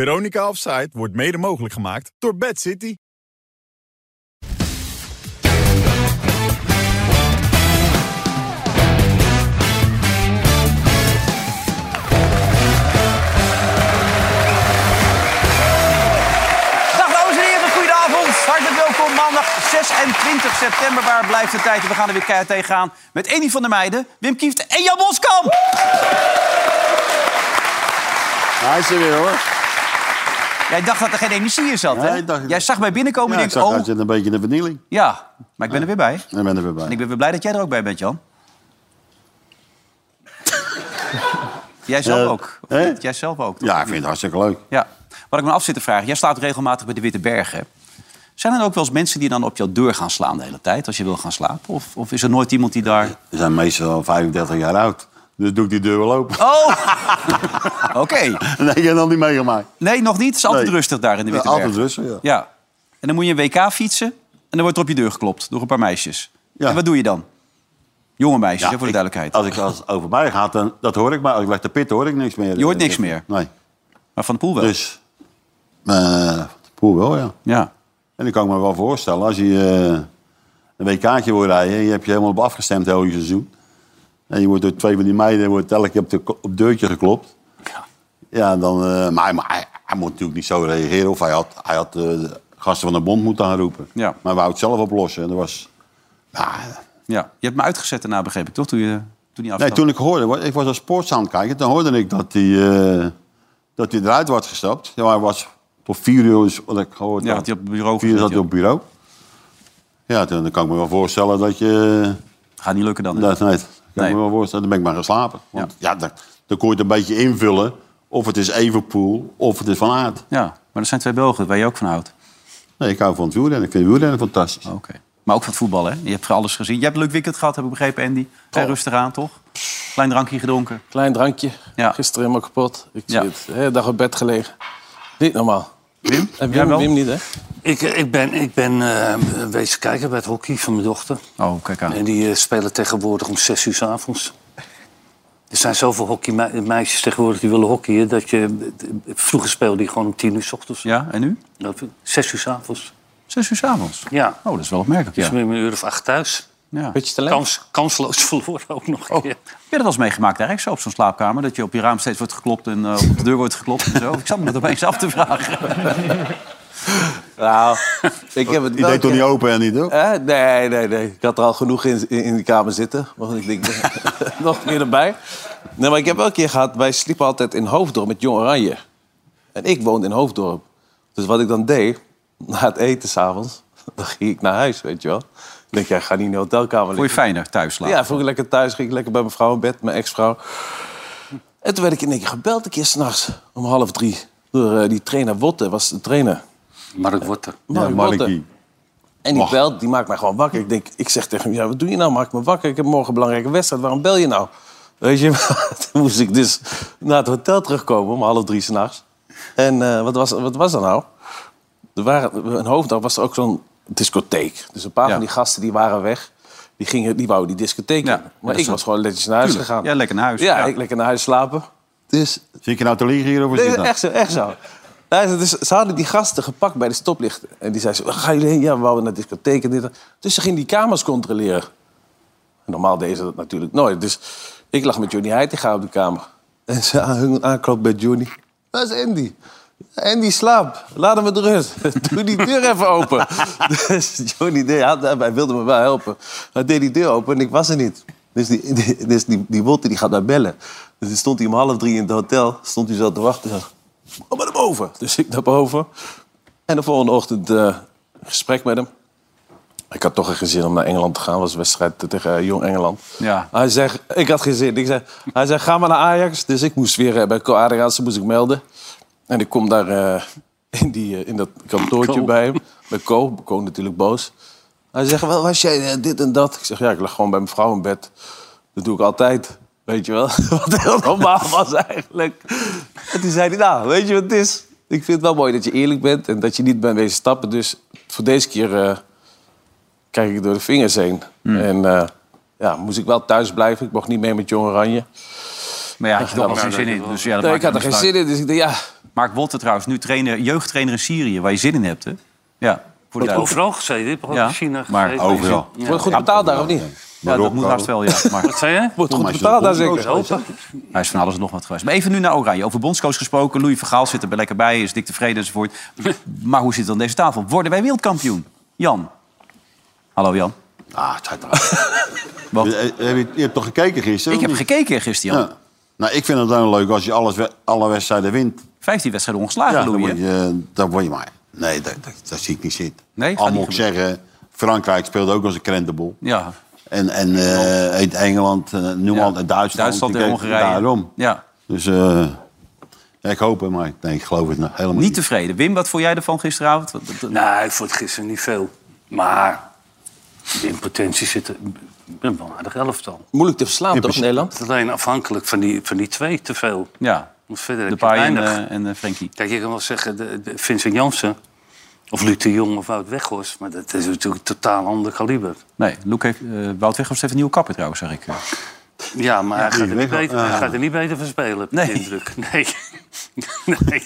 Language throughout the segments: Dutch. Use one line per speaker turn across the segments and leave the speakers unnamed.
Veronica Offside wordt mede mogelijk gemaakt door Bad City.
Dag dames en heren, goedenavond. Hartelijk welkom maandag 26 september. Waar blijft de tijd? We gaan er weer keihard tegenaan met Eni van der Meijden, Wim Kieft en Jan Boskamp.
Hij is er weer hoor.
Jij dacht dat er geen energie in zat, hè?
Ja, ik dacht-
Jij zag mij binnenkomen
Ja,
en
ik
je denkt,
zag
oh,
uit een beetje in de vernieling.
ja. Maar ik ben er weer bij.
En ben er weer bij.
En ik ben weer blij dat jij er ook bij bent, Jan. jij zelf
Eh,
ook. Of
hè?
niet? Jij zelf ook.
Ja, ik vind het hartstikke leuk.
Ja. Wat ik me af zit te vragen, jij staat regelmatig bij de Witte Bergen. Zijn er ook wel eens mensen die dan op jouw deur gaan slaan de hele tijd als je wil gaan slapen? Of, of is er nooit iemand die daar.
We zijn meestal al 35 jaar oud. Dus doe ik die deur wel open.
Oh! Oké.
Nee, ik heb nog niet meegemaakt.
Nee, nog niet. Het is altijd
Nee.
rustig daar in de
Ja,
Witte
altijd
Bergen.
rustig, ja.
Ja. En dan moet je een WK fietsen en dan wordt er op je deur geklopt door een paar meisjes.
Ja.
En wat doe je dan? Jonge meisjes, hè, voor de
ik- Oh.
duidelijkheid.
als, ik, als het over mij gaat, dan, dat hoor ik maar. Als ik leg de pit, hoor ik niks meer.
Je hoort niks meer?
Nee.
Maar van de poel wel.
Dus, eh poel wel, ja.
Ja.
En ik kan ik me wel voorstellen, als je eh, een WK'tje wil rijden... je hebt je helemaal op afgestemd heel je seizoen. En je wordt door twee van die meiden wordt elke keer op, de, ko- op deurtje geklopt. Ja, dan, eh, maar, hij- maar hij, hij moet natuurlijk niet zo reageren. Of hij had, hij had eh, de gasten van de bond moeten aanroepen.
Ja.
Maar hij wou het zelf oplossen. En dat was, ja,
ja. Je hebt me uitgezet daarna, begreep ik toch? Toen je toen je
nee,
afstapte.
toen ik hoorde, wa- ik was als sports aan het kijken. Toen hoorde ik dat hij, eh, dat hij eruit was gestapt. Ja, hij was tot vier uur, is wat ik gehoord
Ja,
had.
had hij op het bureau
Vier uur zat
gezeten,
hij op het bureau. Ja, toen dan kan ik me wel voorstellen dat je...
Gaat niet lukken dan. hè?
Dat, nee, dat kan
Nee.
ik me wel voorstellen. Dan ben ik maar gaan slapen. Want ja, dan, dan kon je het een beetje invullen. Of het is Evenpoel, of het is Van Aert.
Ja, maar dat zijn twee Belgen waar je ook van houdt. Oh,
Nee, ik hou van het wielrennen. Ik vind wielrennen fantastisch.
Oké. Maar ook van het voetbal, hè? Je hebt alles gezien. Je hebt een leuk weekend gehad, heb ik begrepen, Andy. Ga
Oh.
je rustig aan, toch? Klein drankje gedronken.
Klein drankje.
Ja.
Gisteren helemaal kapot. Ik
Ja.
zit de hele dag op bed gelegen. Niet normaal.
Wim?
En
Jij
Wim,
wel?
Wim niet, hè?
Ik, ik ben, ik ben eh, wezen kijken bij het hockey van mijn dochter.
Oh, kijk aan.
En die eh, spelen tegenwoordig om 6 uur 's avonds. Er zijn zoveel hockeymeisjes tegenwoordig die willen hockeyen. Dat je, vroeger speelde die gewoon om 10 uur 's ochtends.
Ja, en nu?
Dat- Zes uur 's avonds.
Zes uur s'avonds.
Ja.
Oh, dat is wel opmerkelijk,
Dus
ja.
met een uur of acht thuis.
ja.
Beetje talent.
Kans, kansloos verloren ook nog een keer.
Heb je dat als meegemaakt eigenlijk zo op zo'n slaapkamer? Dat je op je raam steeds wordt geklopt en eh, op de deur wordt geklopt en zo? Ik zat me dat opeens af te vragen.
Nou, ik heb het
Die deed toch niet open en niet, hoor?
Hè? Nee, nee, nee. Ik had er al genoeg in, in de kamer zitten. Maar ik denk, nog meer erbij. Nee, maar ik heb wel een keer gehad... Wij sliepen altijd in Hoofddorp met Jong Oranje. En ik woonde in Hoofddorp. Dus wat ik dan deed, na het eten s'avonds... dan ging ik naar huis, weet je wel. Ik denk, ja, ik ga niet in de hotelkamer
Vond je
liggen.
fijner thuis slapen?
Ja, vroeg ik lekker thuis, ging ik lekker bij mijn vrouw in bed, mijn ex-vrouw. En toen werd ik in één keer gebeld, een keer s'nachts, om half drie. Door eh, die trainer Wotte, was de trainer.
Mark Wotter.
Eh,
Mark Wotte.
Markie.
En die belt, die maakt mij gewoon wakker. Ik, denk, ik zeg tegen hem, ja, wat doe je nou? Maak me wakker, ik heb morgen een belangrijke wedstrijd. Waarom bel je nou? Weet je, toen moest ik dus naar het hotel terugkomen om half drie s'nachts. En eh, wat, was, wat was dat nou? Er waren, in Hoofddorp was er ook zo'n discotheek. Dus een paar
Ja.
van die gasten die waren weg. Die, gingen, die wouden die discotheek
Ja,
in.
ja, dat
Maar ik
is
was
een-
gewoon netjes naar huis
Tuurlijk.
gegaan.
Ja, lekker naar huis.
Ja,
Ja.
ik lekker naar huis slapen. Dus
Zit je nou te liegen hier over
Nee, Eh, echt zo, echt zo. Ja, ze- dus ze hadden die gasten gepakt bij de stoplichten. En die zeiden, ze, waar gaan jullie heen? Ja, we wouden naar de discotheek en dit. en- Dus ze gingen die kamers controleren. En normaal deden ze dat natuurlijk nooit. Dus ik lag met Johnny Heitinga op de kamer. En ze aan- hun aanklopt bij Johnny. Dat is Andy. Andy, slaap. Laat hem met rust. Doe die deur even open. dus Johnny deed, hij, had- hij wilde me wel helpen. Hij deed die deur open en ik was er niet. Dus die, die, dus die, die Wolter die gaat daar bellen. Dus toen stond hij om half drie in het hotel. Stond hij zo te wachten. Zo, Kom maar naar boven. Dus ik naar boven. En de volgende ochtend eh, een gesprek met hem. Ik had toch geen zin om naar Engeland te gaan. was een wedstrijd tegen eh, Jong Engeland.
Ja.
Hij zegt, ik had geen zin. Ik zei, hij zei, ga maar naar Ajax. Dus ik moest weer eh, bij Co Adriaanse moest ik melden. En ik kom daar eh, in, die, eh, in dat kantoortje bij hem. Bij Co. Co natuurlijk boos. Hij zegt, wel was jij eh, dit en dat? Ik zeg, ja, ik lag gewoon bij mijn vrouw in bed. Dat doe ik altijd. Weet je wel? Wat heel normaal was eigenlijk. En toen zei hij, nou, weet je wat het is? Ik vind het wel mooi dat je eerlijk bent en dat je niet bent wezen stappen. Dus voor deze keer... eh, kijk ik door de
Hmm.
vingers heen. En eh, ja, moest ik wel thuis blijven. Ik mocht niet mee met Jong Oranje.
Maar ja, ik had er
Ja,
geen zin in. Dus ja, dat
Nee, ik
maakt
had er
niet
geen zin
uit.
in, dus ik dacht, ja...
Mark Wolter trouwens, nu trainer, jeugdtrainer in Syrië, waar je zin in hebt, hè? Ja, voor de duivel.
Overal gezeten. Ik heb ook
Ja,
in China
maar
gezeten.
Overal.
Wordt goed betaald daar, of niet?
Ja, dat moet
Marokko.
haast wel, ja. Maar
Wat zei je?
Wordt goed
maar is
betaald daar,
dat
zeker?
Hopen.
hij is van alles en nog wat geweest. Maar even nu naar Oranje. Over bondscoach gesproken. Louis van Gaal zit er lekker bij, is dik tevreden enzovoort. Maar hoe zit het aan deze tafel? Worden wij wereldkampioen? Jan. Hallo Jan.
Ah, het gaat
Wat?
Je, eh, je, je hebt toch gekeken gisteren?
Ik heb
of niet?
gekeken gisteren, Jan.
Ja. Nou, ik vind het dan leuk als je alles, we- alle wedstrijden wint.
15 wedstrijden ongeslagen,
Ja, dan
Louis.
word
hè?
je, eh, dan word je maar. Nee, dat, dat, dat zie ik niet zitten.
Nee, gaat
Al
niet
moet ik zeggen, Frankrijk speelde ook als een krentenbol.
Ja,
En, en eh, heet Engeland, eh, noem al, Duitsland.
Duitsland
die
en
keek-
Hongarije.
Daarom.
Ja.
Dus eh, ja, ik hoop het, maar nee, ik geloof het nou helemaal niet.
Niet tevreden. Wim, wat vond jij ervan gisteravond? Wat- wat-
Nou, ik vond gisteren niet veel. Maar in potentie zit er een wel aardig elftal.
Moeilijk te verslaan, toch,
principe.
Het
Nederland?
is alleen afhankelijk van die, van die twee te veel.
Ja,
Want verder
de
heb je
Pai en,
weinig.
eh, en eh, Frenkie.
Kijk, je kan wel zeggen de, de Vincent Jansen... of Luc de Jong of Wout Weghorst... maar dat is natuurlijk een totaal ander kaliber.
Nee, Luc heeft, eh, Wout Weghorst heeft een nieuwe kapper trouwens, zeg ik. eh.
Ja, maar hij, gaat er niet
Weghorst,
beter, hij gaat er niet beter van spelen, heb ik
Ah. Nee.
de indruk. Nee. nee.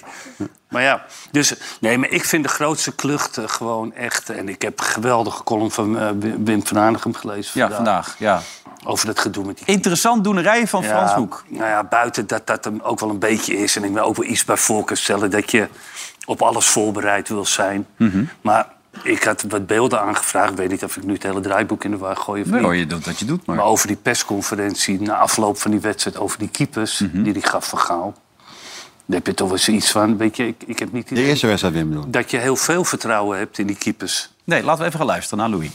Maar ja, dus, nee, maar ik vind de grootste klucht eh, gewoon echt... en ik heb een geweldige column van eh, Wim- Wim van Aanigem gelezen
Ja, vandaag. Ja.
Over dat gedoe met die
Interessant doenerij van Frans Hoek.
nou ja, buiten dat dat hem ook wel een beetje is. En ik wil ook wel iets bij voor kunnen stellen dat je op alles voorbereid wil zijn.
Mhm.
Maar ik had wat beelden aangevraagd. Ik weet niet of ik nu het hele draaiboek in de war gooi of niet.
je doet wat je doet,
Maar over die persconferentie na afloop van die wedstrijd, over die keepers
Mhm.
die die gaf van Gaal. Daar heb je toch wel zoiets van. Weet je, ik, ik heb niet het
De
idee
eerste wedstrijd Wim doen.
dat je heel veel vertrouwen hebt in die keepers.
Nee, laten we even gaan luisteren naar Louis.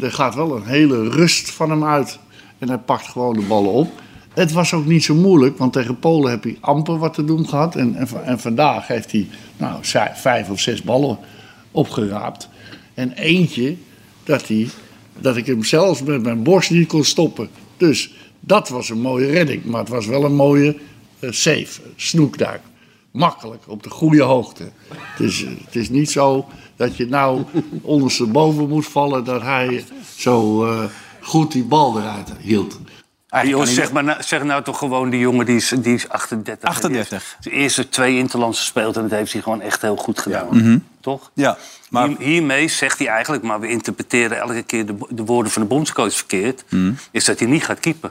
Er gaat wel een hele rust van hem uit. En hij pakt gewoon de ballen op. Het was ook niet zo moeilijk, want tegen Polen heb hij amper wat te doen gehad. En, en, va- en vandaag heeft hij nou, zij- vijf of zes ballen opgeraapt. En eentje dat, hij, dat ik hem zelfs met mijn borst niet kon stoppen. Dus dat was een mooie redding. Maar het was wel een mooie eh, safe, snoekduik. Makkelijk, op de goede hoogte. Het is, het is niet zo dat je nou ondersteboven moet vallen dat hij zo eh, goed die bal eruit hield.
Eigenlijk kan
Jongens, zeg,
hij-
maar, nou- zeg nou toch gewoon die jongen die is, die is 38.
38.
De eerste twee Interlands gespeeld en dat heeft hij gewoon echt heel goed gedaan. Toch?
Mhm. Ja, maar
Hier- hiermee zegt hij eigenlijk, maar we interpreteren elke keer de, bo- de woorden van de bondscoach verkeerd,
Mhm.
is dat hij niet gaat keepen.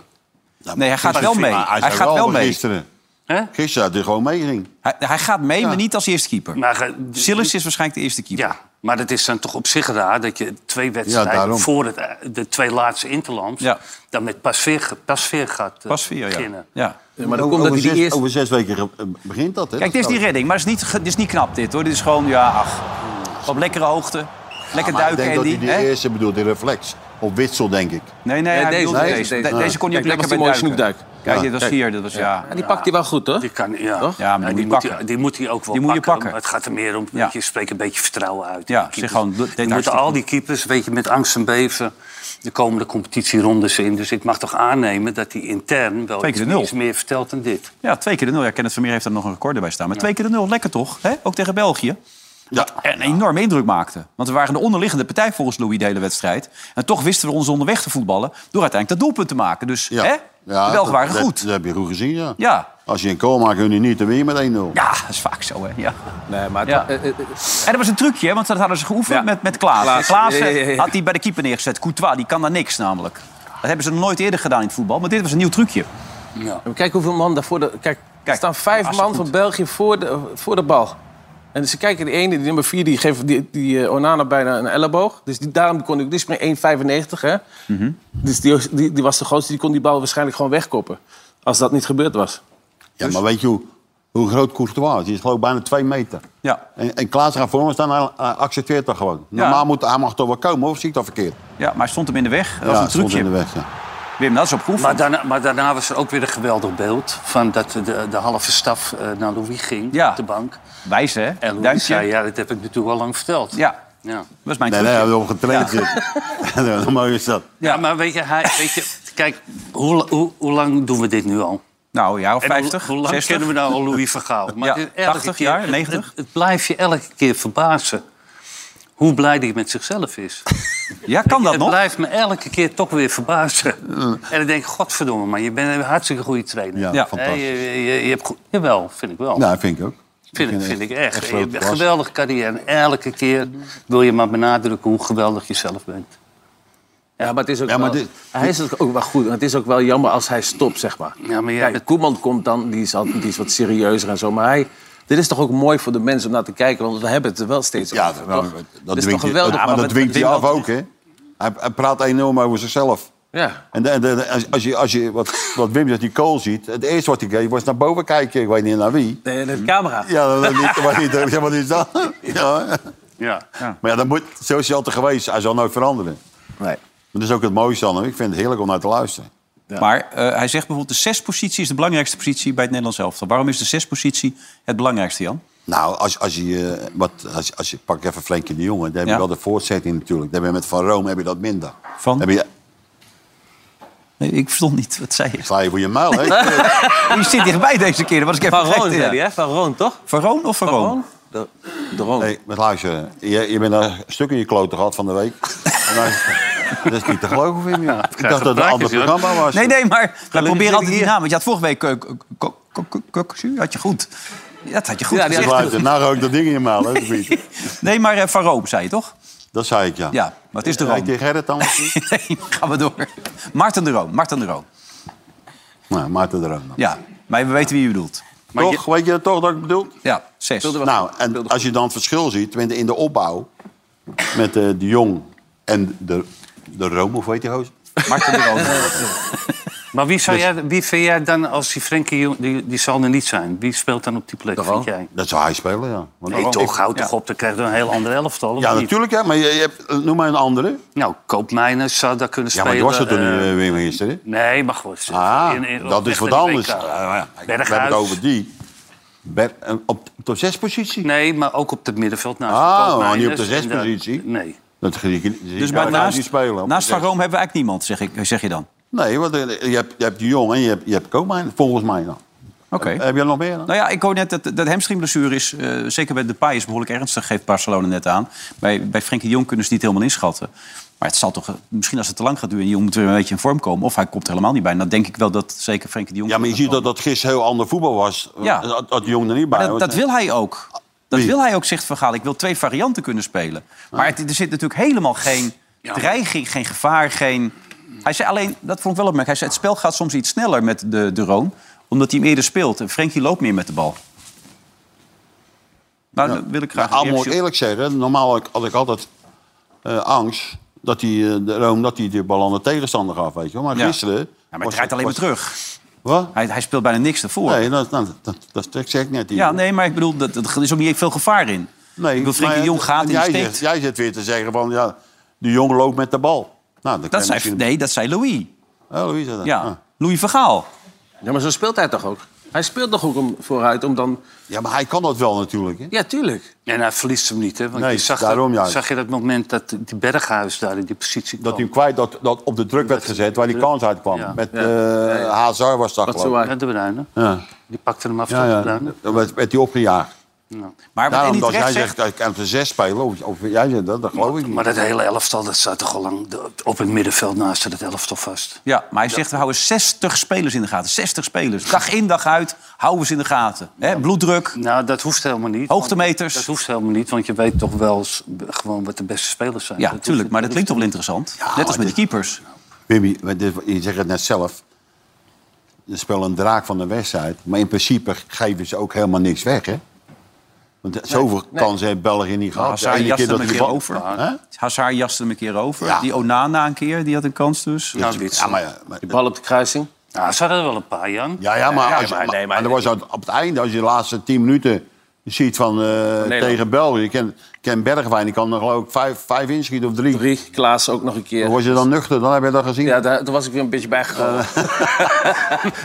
nee, hij gaat
Maar
wel
ik
mee.
vind- maar
Hij
zei
gaat wel mee.
Gisteren.
Hè?
Gisteren had hij gewoon meeging.
Hij, hij gaat mee, maar niet als eerste keeper.
Maar, ga-
Silas is waarschijnlijk de eerste keeper.
Nou, Ja, maar dat is dan toch op zich raar dat je twee wedstrijden
daarom.
voor het, eh, de twee laatste Interlands
Ja.
dan met pasveer, pasveer gaat eh,
Pas vier, ja.
beginnen.
ja.
Maar dan
Over-
komt dat hij
over,
die
zes,
eerste...
over zes weken ge- eh, begint dat, hè?
Kijk, dit is die redding, maar het is niet, ge- dit is niet knap dit, hoor. Dit is gewoon, ja, ach, op lekkere hoogte. Lekker
Maar
duiken,
Ik denk
Andy.
dat hij
hè?
die eerste bedoelt, die reflex. Op witsel, denk ik.
Nee, nee, hij
deze,
bedoelde deze,
deze,
deze.
deze.
De- deze kon je ook
Kijk, dat
lekker bij
was
duiken.
die mooie snoekduik.
Kijk, dit was hier, dit was ja.
En die pakt hij wel goed, toch?
Die kan, ja.
Toch?
Ja, maar die moet
moet
je
hij, die moet hij ook wel
Die moet je
pakken.
pakken.
maar het gaat er meer om,
Ja.
je spreekt een beetje vertrouwen uit.
Ja,
Die keepers.
zeg gewoon, dit- dit
Je moet
hartstikke
al die keepers, weet je, met angst en beven de komende competitierondes in. Dus ik mag toch aannemen dat hij intern wel
Twee keer
iets,
de nul.
iets meer vertelt dan dit.
Ja, twee keer de nul. Ja, Kenneth Vermeer heeft daar nog een record erbij staan. Maar twee keer de nul, lekker toch? Hè? Ook tegen België. Wat een enorme indruk maakte. Want we waren de onderliggende partij volgens Louis de hele wedstrijd. En toch wisten we ons onderweg te voetballen... door uiteindelijk dat doelpunt te maken. Dus hè? de Belgen waren
dat-
goed.
Dat, heb je goed gezien, ja.
Ja.
Als je een goal maakt, kun je niet, dan win je met 1-0.
ja, dat is vaak zo, hè. Ja.
Nee, maar...
Ja.
het- eh, eh, eh,
En dat was een trucje, hè, want dat hadden ze geoefend
Ja.
met, met Klaas.
Klaas.
Klaassen
Ja, ja, ja, ja.
had hij bij de keeper neergezet. Courtois, die kan daar niks namelijk. Dat hebben ze nog nooit eerder gedaan in het voetbal. Maar dit was een nieuw trucje.
Ja.
Maar Kijk hoeveel man daarvoor. De, kijk, er
Kijk,
staan vijf
als je
man
goed-
van België voor de, voor de bal. En dus ze kijken, die ene, die nummer vier, die geeft die, die eh, Onana bijna een elleboog. Dus die, daarom kon ik, die springt 1,95 hè.
Mhm.
Dus die, die, die was de grootste, die kon die bal waarschijnlijk gewoon wegkoppen. Als dat niet gebeurd was.
dus-
Ja, maar weet je hoe, hoe groot Courtois is? Die is geloof ik bijna twee meter.
Ja.
En, en Klaas gaat voor hem staan, hij hij accepteert dat gewoon. Normaal moet, hij mag toch wel komen, of zie ik dat verkeerd?
Ja, maar hij stond hem in de weg. Dat was
ja,
een
het stond
trucje.
in de weg, ja.
Wim, dat is op geoefend.
Maar daarna, maar daarna was er ook weer een geweldig beeld van dat de, de halve staf eh, naar Louis ging,
Ja.
op de bank.
Wijs, hè?
En Louis
Duimpje.
zei, ja, dat heb ik natuurlijk al lang verteld.
Ja,
ja.
dat was mijn
Nee, nee,
trucje.
hij heeft op getraind. zitten. Hoe mooi is dat?
Ja, maar weet je, hij, weet je kijk, hoe, hoe, hoe lang doen we dit nu al?
Nou ja, of
En
50,
hoe, hoe lang
60.
kennen we nou al Louis van Gaal?
Ja,
het is elke
80 jaar,
het-
90?
Het, het blijft je elke keer verbazen hoe blij hij met zichzelf is.
Ja, kan dat
het
nog?
blijft me elke keer toch weer verbazen. En ik denk, godverdomme man, je bent een hartstikke goede trainer.
Ja,
Hè,
fantastisch.
je, je, je hebt goed, jawel, vind ik wel.
Nou, vind ik ook.
Vind ik,
vind
vind ik
echt-
echt.
echt
Je
grote
hebt een
klasse.
geweldige carrière. En elke keer wil je maar benadrukken hoe geweldig je zelf bent.
Ja, maar het is ook
Ja, maar
wel,
dit-
hij is ook wel goed. want het is ook wel jammer als hij stopt, zeg maar.
Ja, maar jij
Kijk,
bent-
Koeman komt dan, die is, al, die is wat serieuzer en zo. Maar hij, dit is toch ook mooi voor de mensen om naar te kijken... want we hebben het er wel steeds
Ja,
over.
wel,
toch?
dat
is
dwingt
toch
hij,
geweldig.
dat- maar dat dwingt hij af ook, hè? Hij, hij praat enorm over zichzelf.
Ja.
En de- de- de- als, als je, als je wat, wat Wim zegt, die kool ziet... Het eerste wat hij deed was naar boven kijken. Ik weet niet naar wie.
Nee, de camera.
Ja, dat niet, maar niet, ja, maar die is dat? Ja.
Ja.
Maar ja, dat moet, zo is hij altijd geweest. Hij zal nooit veranderen.
Nee.
Maar dat is ook het mooiste aan hem. Ik vind het heerlijk om naar te luisteren.
Maar eh, hij zegt bijvoorbeeld, de zespositie is de belangrijkste positie bij het Nederlands elftal. Waarom is de zespositie het belangrijkste, Jan?
Nou, als, als je, eh, wat, als, als je pak even Frenkie de Jonge, dan heb je
Ja.
wel de voortzetting natuurlijk. Dan heb je met Van Room heb je dat minder.
Van?
Heb je,
Nee, ik verstond niet, wat zei je?
sla je voor je muil, hè?
Je zit dichtbij deze keer, dat was ik even
Van Roon,
vergeten, ja.
zei hij, hè? Van Roon, toch?
Van Roon of Van
Van
Roon?
Roon? De, de Roon.
Hey, maar luister, je, je bent een stuk in je kloten gehad van de week. En dan- dat is niet te geloven, Wim. joh. Ik dacht dat het een ander
praatjes, hoor.
programma was.
Nee, nee, maar wij proberen altijd die
hier.
naam. Want je had vorige week... eh, ko- ko- ko- ko- Koksu, had je goed. Dat had je goed
Ja, die
Ik
gezegd.
luister, nou rook ik dat ding in je muil, hè? Piet.
Nee, maar eh, Van Roon zei je toch?
Dat zei ik, ja.
Ja, maar het is de
Kijk
Roon.
tegen Gerrit dan misschien?
Nee, gaan we door. Marten de Roon, Marten de Roon.
Nou, Maarten de Roon dan.
Ja, maar we weten wie je bedoelt.
toch, weet je toch dat ik bedoel?
Ja, zes.
Nou, en als je dan het verschil ziet tenminste in de opbouw met eh, de Jong en de, de Room, of weet je hoos?
Marten de Roon. Dus
Maar wie, zou jij, wie vind jij dan als die Frenkie, Jong- die, die zal er niet zijn? Wie speelt dan op die plek, vind jij?
Dat zou hij spelen, ja. Want
Nee,
ik-
toch, houd toch op, dan krijg je een heel ander elftal. of
Ja,
niet?
natuurlijk, hè, maar je, je hebt, eh, noem maar een andere.
Nou, Koopmijnen zou daar kunnen
Ja,
spelen.
maar die was er toen
eh,
niet, eh, Wim gisteren.
Nee, maar goed.
Ah,
In- in-
dat is
echt
wat
in de
anders.
WK.
Ah, ja. We hebben
Berghuis.
het over die. Ber- eh, op, op de zespositie.
Nee, maar ook op het middenveld. Naast
Ah,
de Koopmeiners
niet op de
en daar-
zespositie.
Nee.
Dat zie ik- zie
Dus
ik
maar
eigenlijk niet
naast,
spelen. op
naast
de
Van
zes.
Roon hebben we eigenlijk niemand, zeg, ik, zeg je dan.
Nee, want eh, je hebt, je hebt de Jong en je hebt, je hebt Koopmijn, volgens mij dan. Eh,
Oké.
Heb je er nog meer dan?
Nou ja, ik hoor net dat, dat hamstringblessure is, eh, zeker bij Depay, is behoorlijk ernstig, geeft Barcelona net aan. Bij, bij Frenkie de Jong kunnen ze het niet helemaal inschatten. Maar het zal toch, eh, misschien als het te lang gaat duren, en Jong moet weer een beetje in vorm komen. Of hij komt er helemaal niet bij. En dan denk ik wel dat zeker Frenkie de Jong...
Ja, maar je ziet dat dat gisteren heel ander voetbal was. eh,
Ja.
Dat, dat de Jong er niet bij
Maar dat,
was.
dat wil hij ook. Dat
Wie? Ah.
wil hij ook, zegt Van Gaal. Ik wil twee varianten kunnen spelen. Maar het- er zit natuurlijk helemaal geen dreiging, geen gevaar, geen... Hij zei alleen, dat vond ik wel opmerkelijk. Hij zei, het spel gaat soms iets sneller met de, de Roon. Omdat hij hem eerder speelt. En Frenkie loopt meer met de bal. Nou, dan wil ik graag...
Ja, al
een
moet
reactie
ik
op-
eerlijk zeggen, normaal had ik, had ik altijd eh, angst dat hij, eh, de Room dat hij de bal aan de tegenstander gaf, weet je wel. Maar
Ja.
gisteren...
Ja, maar hij draait alleen maar terug.
Wat?
Hij, hij speelt bijna niks ervoor.
Nee, dat, dat, dat, dat, dat zeg ik net. hier.
Ja, nee, maar ik bedoel, dat- dat- er is ook niet veel gevaar in. ik bedoel, Frenkie
maar-
de Jong gaat in de
jij
steekt.
zegt, jij zit weer te zeggen van, ja, de Jong loopt met de bal. Nou, dan kan
Dat
je
zei,
misschien-
nee, dat zei Louis.
Oh, Louise, dat.
Ja,
Ah.
Louis van Gaal.
Ja, maar zo speelt hij toch ook? Hij speelt toch ook om, vooruit om dan...
ja, maar hij kan dat wel natuurlijk, hè.
Ja, tuurlijk.
En hij verliest hem niet, hè? Want
Nee,
je zag,
daarom
dat,
juist.
zag je dat moment dat die Berghuis daar in die positie kwam?
Dat hij hem kwijt, dat, dat op de druk werd gezet waar die kans uit kwam.
Ja.
Met eh Hazard was dat,
Wat
geloof ik.
zo
Ja, de Bruyne.
Ja,
Die pakte hem af
ja,
van de
ja.
Bruyne.
Dan werd, werd hij opgejaagd.
Maar wat
Daarom,
Andy
als jij
terecht zegt...
zegt, dat ik kan de zes spelen, of, of jij zegt dat, dat geloof ik niet.
Maar dat hele elftal, dat staat toch al lang de- op het middenveld naast het elftal vast.
Ja, maar hij zegt, we houden 60 spelers in de gaten. 60 spelers. Dag in, dag uit, houden we ze in de gaten. Hè, bloeddruk.
Nou, dat hoeft helemaal niet.
Hoogtemeters.
Dat hoeft helemaal niet, want je weet toch wel s- gewoon wat de beste spelers zijn.
Ja,
Dat
tuurlijk,
hoeft-
maar dat klinkt toch wel interessant. Net als
maar
met die keepers.
Wimmy, wat dit- je zegt het net zelf. Ze spelen een draak van de wedstrijd. Maar in principe geven ze ook helemaal niks weg, hè? Want zoveel kansen heeft België niet gehad.
Hazard
ene
jaste hem
dat
een
die
keer
bal-
over.
Hè?
Hazard jaste hem een keer over.
Ja.
Die Onana een keer, die had een kans dus.
Nou,
Ja,
Witsen.
maar, ja, maar,
Bal op de kruising.
Nou, ze hadden er wel een paar, Jan.
ja, ja, maar,
Ja,
als je-
maar nee, maar-
maar- maar er was aan het- op het einde, als je de laatste tien minuten ziet van, eh, tegen België. Ken, ken Bergwijn, die kan er geloof ik vijf, vijf inschieten of drie.
Drie, Klaas ook nog een keer.
Word je dan nuchter, dan heb je dat gezien.
Ja, daar, toen was ik weer een beetje bijgekomen.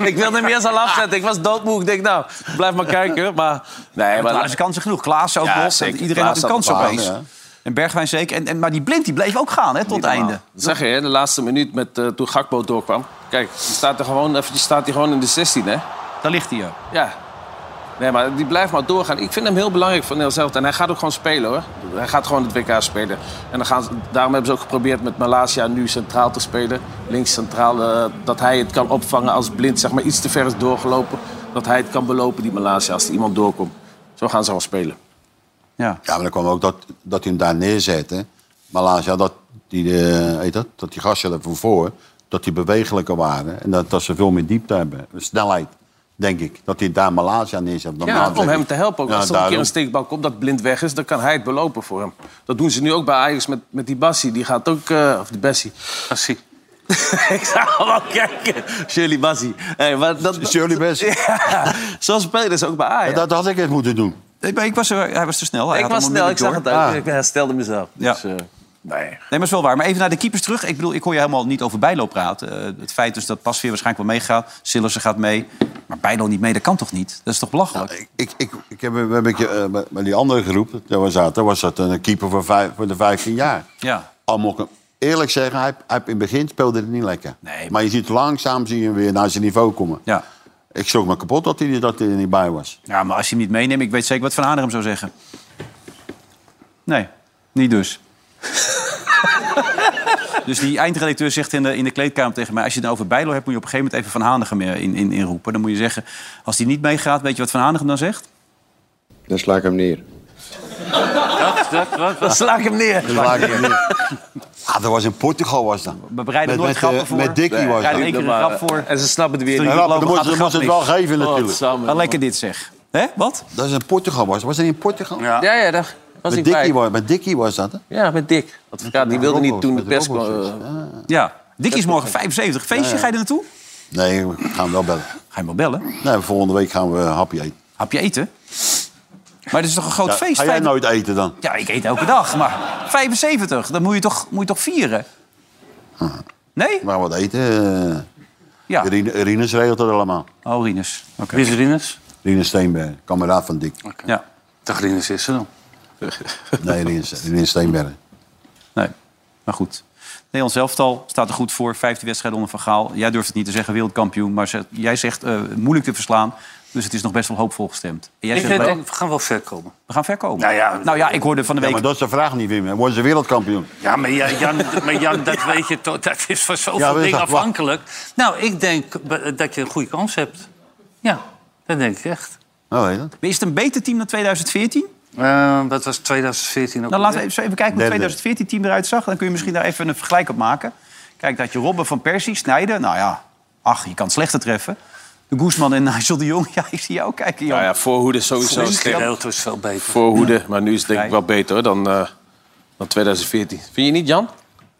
ik wilde hem eerst al afzetten. Ik was doodmoe. Ik denk, nou, blijf maar kijken. Maar, nee,
Maar
maar
waren ze kansen genoeg. Klaas ook
Ja,
los.
zeker.
Iedereen
Klaas
had een kans
had een
opeens.
paar, ja.
En Bergwijn zeker. En, en, maar die blind die bleef ook gaan hè, tot het einde.
Dat zeg je, hè, de laatste minuut met, eh, toen Gakpo doorkwam. Kijk, die staat, er gewoon, even, die staat hier gewoon in de 16, hè?
Daar ligt hij. ja.
Ja. Nee, maar die blijft maar doorgaan. Ik vind hem heel belangrijk voor Nederland zelf. En hij gaat ook gewoon spelen hoor. Hij gaat gewoon het WK spelen. En dan gaan ze- daarom hebben ze ook geprobeerd met Malasia nu centraal te spelen. Links centraal. eh, dat hij het kan opvangen als blind, zeg maar iets te ver is doorgelopen. Dat hij het kan belopen, die Malasia, als er iemand doorkomt. Zo gaan ze gewoon spelen.
Ja.
Ja, maar dan kwam ook dat, dat hij hem daar neerzet. Hè. Malaysia, dat die, eh, heet dat, dat die gasten ervoor voor, dat die bewegelijker waren. En dat, dat ze veel meer diepte hebben. Snelheid, denk ik. Dat hij daar Malaysia neerzet. Dan
Ja,
maakt
om
het-
hem te helpen. Ook.
Ja,
Als er een keer
daarom.
een steekbal komt dat blind weg is, dan kan hij het belopen voor hem. Dat doen ze nu ook bij Ajax met, met die Bassi. Die gaat ook... eh, of die Bessie.
Bassie.
ik zou wel kijken. Shirley Bassi. Hey, maar dat,
Shirley Bessie.
Ja, zo spelen ze ook bij Ajax.
Ja, Dat had ik eens moeten doen.
Ik, ben- ik was, er- hij was te snel. Hij
ik
had
was
hem
snel, ik zag
onmiddellijk
het
door.
ook.
Ah.
Ik herstelde mezelf.
Ja.
Dus, eh, nee.
Nee, maar is wel waar. Maar even naar de keepers terug. Ik bedoel, ik hoor je helemaal niet over Bijlo praten. Eh, het feit dus dat Pasveer waarschijnlijk wel meegaat. Sillersen gaat mee. Maar Bijlo niet mee, dat kan toch niet? Dat is toch belachelijk?
Ik, ik, ik, ik heb een een beetje eh, bij- bij die andere groep, daar was dat, daar was dat een keeper voor, vijf, voor de 15 jaar.
Ja.
Al moet ik hem eerlijk zeggen, hij, hij, in het begin speelde het niet lekker.
Nee, maar-
Maar je ziet langzaam zie je hem weer naar zijn niveau komen.
Ja.
Ik schrok me kapot dat hij, dat hij er niet bij was.
ja, maar als je hem niet meeneemt, ik weet zeker wat Van Aaner hem zou zeggen. Nee, niet dus. dus die eindredacteur zegt in de, in de kleedkamer tegen mij... als je het nou over Bijlo hebt, moet je op een gegeven moment even Van Hanegem eh, in, in, in roepen. Dan moet je zeggen, als die niet meegaat, weet je wat Van Hanegem dan zegt?
Dan sla ik hem neer.
Dat, dat, dat,
Dan sla ik hem neer.
Dat maakt het niet. Ah, dat was in Portugal was dat.
We bereiden
Met-
nooit
met,
grappen
eh,
voor.
met Dickie
Nee,
was
we
dat.
bereiden één keer een grap voor.
eh, En ze snappen het weer
Drie-
niet.
Ja, maar dan moet
Gaat
je moet je het
niks.
wel geven natuurlijk.
Ah,
Godsamme.
lekker dit zeg. Hè? Wat?
Dat is in Portugal was. Was dat in Portugal?
Ja.
Ja, ja, daar was
Met
ik bij.
Dickie was, met Dickie was dat. Hè?
Ja, met Dick. Advocaat, die wilde niet toen de pers kwam. eh,
Ja. Dikkie is morgen 75. Feestje, ga je er naartoe?
Nee, we gaan wel bellen.
Ga je maar bellen.
Nee, volgende week gaan we happy eten.
Hapje eten. Maar dit is toch een groot
Ja,
Oh, feest?
Ga jij nou-
Vijf-
nooit eten dan?
Ja, ik eet elke dag. Maar 75, dan moet je toch, moet je toch vieren? Nee?
Maar wat eten? eh,
Ja.
Rine- Rinus regelt dat allemaal.
Oh, Rinus. Oké.
Wie is Rinus?
Rinus Steenberg, kameraad van Dick.
Ja.
Dag Rinus is er dan.
Nee, Rinus, Rinus Steenberg.
Nee. Maar goed. Nederlands elftal staat er goed voor. 15 wedstrijden onder Van Gaal. Jij durft het niet te zeggen wereldkampioen. Maar ze- jij zegt eh, moeilijk te verslaan. Dus het is nog best wel hoopvol gestemd. En jij
Ik
zegt,
vind,
we,
we gaan wel ver komen.
we gaan verkopen.
Nou ja.
ik hoorde van de
Ja,
week...
maar dat is de vraag niet, Wim. Worden ze wereldkampioen?
Ja, maar Ja, Jan, maar Jan dat weet je toch, dat is van
Ja, weet
zoveel dingen
dat, wacht.
afhankelijk. Nou, ik denk eh, dat je een goede kans hebt. Ja, dat denk ik echt.
Oh, weet je dat?
Maar Is het een beter team dan 2014?
Ehm,
Eh, dat was 2014 ook.
Nou, laten we even, even kijken hoe
Derde.
het 2014-team eruit zag. Dan kun je misschien daar even een vergelijk op maken. Kijk, dat je Robben van Persie, Snijden... Nou ja, ach, je kan het slechter treffen. De Guzman en Nigel de Jong. Ja, ik zie jou ook kijken, Jan.
Nou ja, voorhoede is sowieso
Zo'n
sterk.
Gerelto is veel beter.
Voorhoede, maar nu is het denk ik
Ja.
wel beter hoor, dan, eh, dan 2014. Vind je niet, Jan? Ik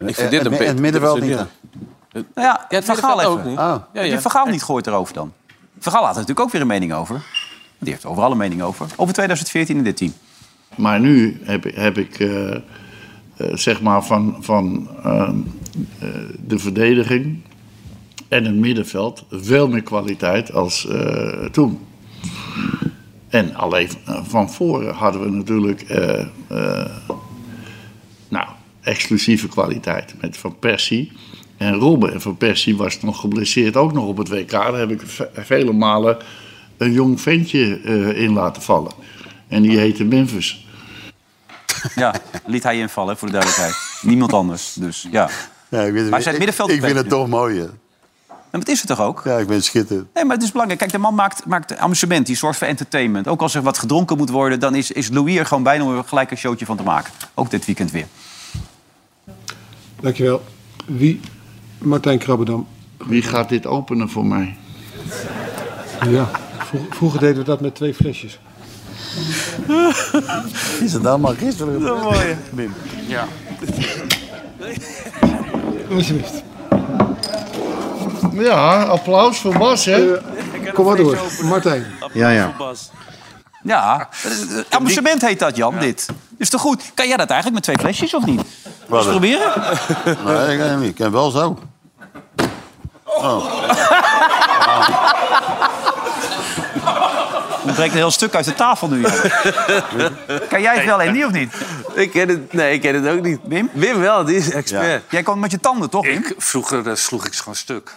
Eh,
vind dit
het
een
mi-
beter.
het middenveld
dit is
niet,
een-
Nou ja,
Ja, het
Van Gaal
middenveld ook
even.
niet.
Ah.
Ja,
Heb
ja.
je Van Gaal niet gehoord erover dan? Van Gaal had er natuurlijk ook weer een mening over. Die heeft overal een mening over. Over 2014 in dit team.
Maar nu heb, ik- heb ik, eh, eh, zeg maar, van, van ehm, eh, de verdediging en het middenveld veel meer kwaliteit als eh, toen. En alleen eh, van voren hadden we natuurlijk, eh, eh, nou, exclusieve kwaliteit met Van Persie. En Robben en Van Persie was nog geblesseerd, ook nog op het WK. Daar heb ik ve- vele malen een jong ventje eh, in laten vallen. En die heette Memphis.
Ja, liet hij invallen, hè, voor de duidelijkheid. Niemand anders, dus ja.
Ja, ik weet,
Maar zijn
ik,
middenveld-
ik vind het toch mooi, hè.
En wat is het toch ook?
Ja, ik vind het schitterend.
Nee, maar het is belangrijk. Kijk, de man maakt, maakt amusement, die zorgt voor entertainment. Ook als er wat gedronken moet worden, dan is, is Louis er gewoon bijna om gelijk een showtje van te maken. Ook dit weekend weer.
Dankjewel. Wie? Martijn Krabbedam.
Wie gaat dit openen voor mij?
Ja, vro- vroeger deden we dat met twee flesjes.
Is het dan maar gisteren? Wim.
Alsjeblieft.
Ja, applaus voor Bas, hè?
Kom maar door. Martijn.
Ja, ja.
Ja, dat is- eh, amusement heet dat, Jan, dit. Is toch goed? Kan jij dat eigenlijk met twee flesjes of niet? Eens
het?
proberen?
Nee, ik, weet het niet. ik ken het wel zo.
ontbreekt een heel stuk uit de tafel nu. Jan. kan jij het wel en niet of niet?
Ik ken het, nee, ik ken het ook niet.
Wim?
Wim wel, die is expert.
Jij komt met je tanden, toch? Wim?
Ik, vroeger eh, sloeg ik ze gewoon stuk.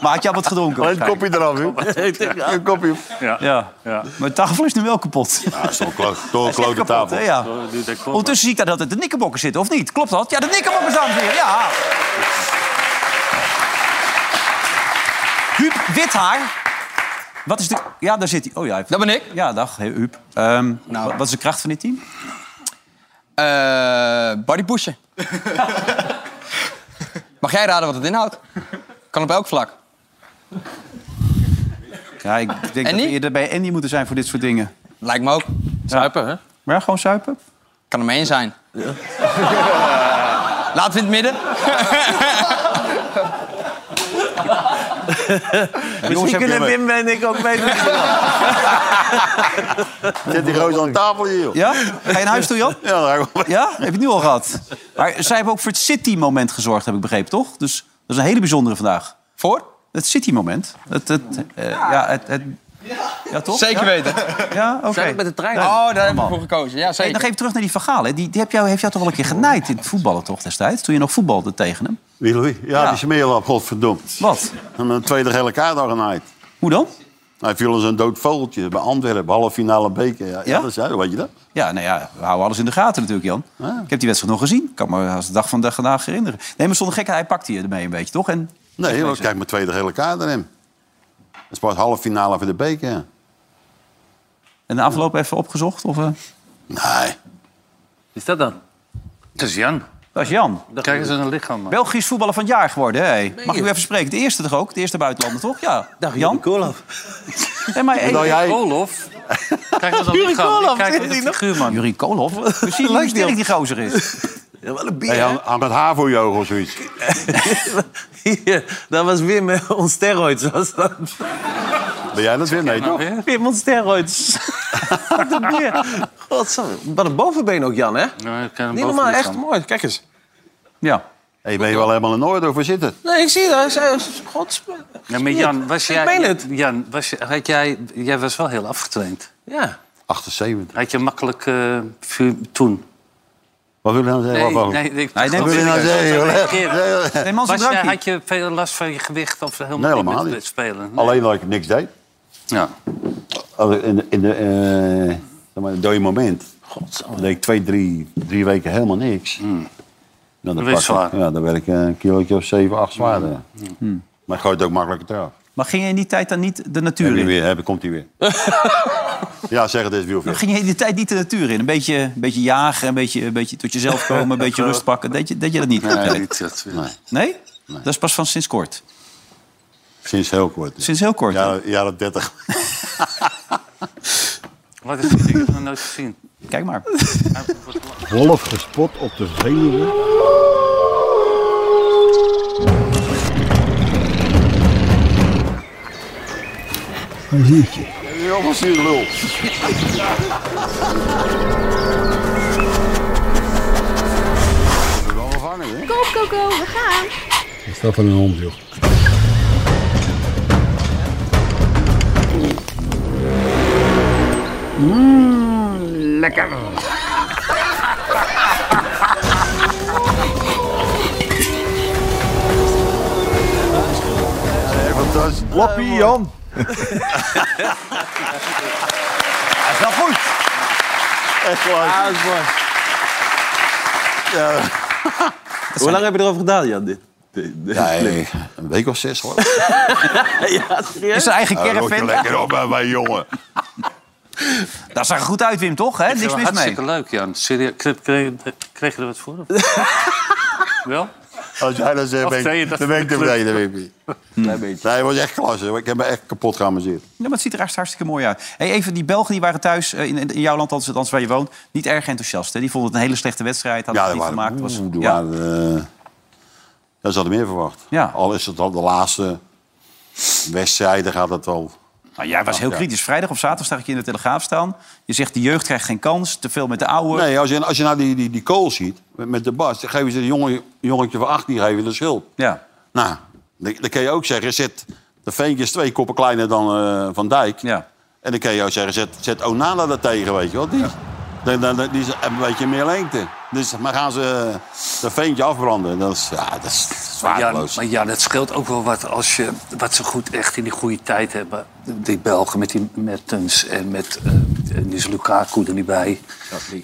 Maar had je al wat gedronken?
Alleen het Oh, kopje eraf, joh. Een kopje.
Ja. ja. Maar de tafel is nu wel kapot.
Ja, zo'n klo- zo'n
Is echt
klote
kapot,
tafel.
hè, ja.
Zo duurt dat klopt.
Ondertussen zie ik daar altijd de nikkerbokken zitten, of niet? Klopt dat? Ja, de nikkerbokken staan weer. Ja. Huub Withaar. Wat is de... Ja, daar zit hij. Oh ja, hij-
Dat ben ik.
Ja, dag, hey, Huub. Ehm,
Nou.
wa- Wat is de kracht van dit team?
Eh body pushen. Mag jij raden wat het inhoudt? Kan op elk vlak.
Ja, ik denk dat we
Andy?
eerder bij Andy moeten zijn voor dit soort dingen.
Lijkt me ook.
Zuipen, hè?
Maar ja, gewoon suipen.
Kan er maar één zijn. Laten we in het midden.
Misschien
Kunnen Wim en ik ook mee
Zit die gozer aan tafel hier, joh.
Ja? Ga je naar huis toe, Jan?
Ja, daar gaan we.
Ja? Heb je het nu al gehad? Maar zij hebben ook voor het City-moment gezorgd, heb ik begrepen, toch? Dus dat is een hele bijzondere vandaag.
Voor?
Het City-moment. Het, het, eh, ja, het, het, ja, toch?
Zeker
Ja?
weten.
Ja, oké. Nou,
Zijn we met de trein?
Oh, daar heb ik
man.
voor gekozen. Ja,
Hey,
zeker.
nog even terug naar die verhaal. Die, die heb jou, heeft jou toch wel een keer genaaid in het voetballen, toch, destijds? Toen je nog voetbalde tegen hem.
Wie, Louis? Ja,
Ja.
die smeerlap, godverdomd.
Wat?
En een tweede gele kaart al genaaid.
Hoe dan?
Hij viel als een dood vogeltje bij Antwerpen, halve finale beker. Ja,
Ja?
ja? dat is hij, weet je dat?
Ja, nou ja, we houden alles in de gaten natuurlijk, Jan.
Ah.
Ik heb die wedstrijd nog gezien. Ik kan me als de dag van vandaag herinneren. Nee, maar zonder gekheid, hij pakte je ermee een beetje, toch? En
Nee, want kijk, mijn tweede gele kaart aan hem. Dat is pas halve finale voor de beker. ja.
En de afloop even opgezocht? Of, eh?
Nee.
Is dat dan? Dat is Jan.
Dat is Jan.
Kijk eens naar een lichaam, man.
Belgisch voetballer van het jaar geworden. hè? Hey. Mag ik u even spreken? De eerste toch ook? De eerste buitenlander toch? Ja. Jan? Nee, maar, hey,
Nou,
Oh,
jij...
Olof. Kijk eens naar een lichaam. Kijk naar de figuur, man.
Jurie Koolhof. We zien hoe sterk die gozer is.
Hey, aan, aan het haar voor je ogen of zoiets.
Hier, dat was Wim eh, ons steroids. Was dat.
Ben jij dat weer? Nee, toch?
Wim ons steroids. Wat een beer. Godsamme. Wat een bovenbeen ook, Jan, hè?
Nee, ik ken hem
Niet
boven
normaal,
de
echt
lichaam.
mooi. Kijk eens.
Ja.
Hey, ben je wel helemaal in orde? Of waar zit het?
Nee, ik zie dat. Hij zei, gods...
Ja, maar Jan, was jij...
Ik meen het.
Jan, was je, had jij, jij was wel heel afgetraind.
Ja.
78.
Had je makkelijk eh, vuur- toen?
Wat wil je nou zeggen? Wat-
nee, ik,
Hij neemt
Wat wil je nou zeggen? joh? Nee, nee.
Nee, man, zijn
Was, jij-
drankje.
had je veel last van je gewicht of helemaal,
Nee, helemaal
met
niet.
spelen? Nee.
Alleen dat ik niks deed.
Ja.
Als ik In, in de, eh, zeg maar, een dode moment. Dan deed ik twee, drie, drie weken helemaal niks. Nou, Dan,
Dan werd je
pak ik-
zwaar.
Ja, dan werd ik een kilootje of zeven, acht zwaarder. Maar ik gooi het ook makkelijker eraf.
Maar ging je in die tijd dan niet de
Heb
natuur
je
in?
weer, heb, komt hij weer. ja, zeg het eens, Wielveld.
Ging je in die tijd niet de natuur in? Een beetje, een beetje jagen, een beetje, een beetje tot jezelf komen, een beetje rust pakken. Deed je, deed je dat niet?
Nee,
Nee?
niet dat-
Nee? Dat is pas van sinds kort.
Sinds heel kort.
Sinds heel kort.
Ja, jaren 30.
Wat is dat? Ik heb het nog nooit gezien. Nou,
Kijk maar.
Wolf gespot op de Veluwe. Een hiertje.
Ja, was hier lul.
Wat is dat voor een hond, joh?
Lappie Jan.
Dat is wel goed.
Echt waar.
Hoe lang heb je erover gedaan, Jan? Dit?
Nee, een week of zes hoor.
Is zijn eigen
Rot je
caravan.
lekker op bij mijn jongen.
Daar zag er goed uit, Wim, toch? Hè? Niks
Ja,
mis mee.
hartstikke leuk, Jan. Serieus, kreeg, kreeg, kreeg je er wat voor? Wel?
Als jij dat zegt,
Of
ben
zei je
ik,
dat
dan ben ik
voor de
tevreden, Wimpy. Nee, hij was echt klasse. Ik heb me echt kapot geamuseerd.
Ja, maar het ziet er echt hartstikke mooi uit. Hey, even, die Belgen die waren thuis, eh, in, in jouw land, althans althans waar je woont, niet erg enthousiast. Hè? Die vonden het een hele slechte wedstrijd, hadden
Ja,
het
dat
niet
waren,
gemaakt.
was,
Was,
oeh, er
ja.
waren, eh, ja, ze hadden meer verwacht.
Ja.
Al is het al de laatste wedstrijd, dan gaat het wel.
Nou, jij was heel
Ja.
kritisch. Vrijdag of zaterdag zag ik je in de Telegraaf staan. Je zegt, de jeugd krijgt geen kans, te veel met de oude.
Nee, als je, als je nou die, die, die kool ziet met, met de bas, dan geven ze een jongen, jongetje van 18 geven de schuld.
Ja.
Nou, dan, dan kun je ook zeggen, zet De Veentje is twee koppen kleiner dan eh, Van Dijk.
Ja.
En dan kun je ook zeggen, zet, zet Onana er tegen, weet je wel. Die, dan, dan, dan- die is een beetje meer lengte. Dus, maar gaan ze de Veentje afbranden? Dat is, ja, dat is
Ja,
zwaardeloos.
maar ja, dat scheelt ook wel wat als je wat ze goed echt in die goede tijd hebben. Die Belgen met die Mertens en met eh dus Lukaku er niet bij.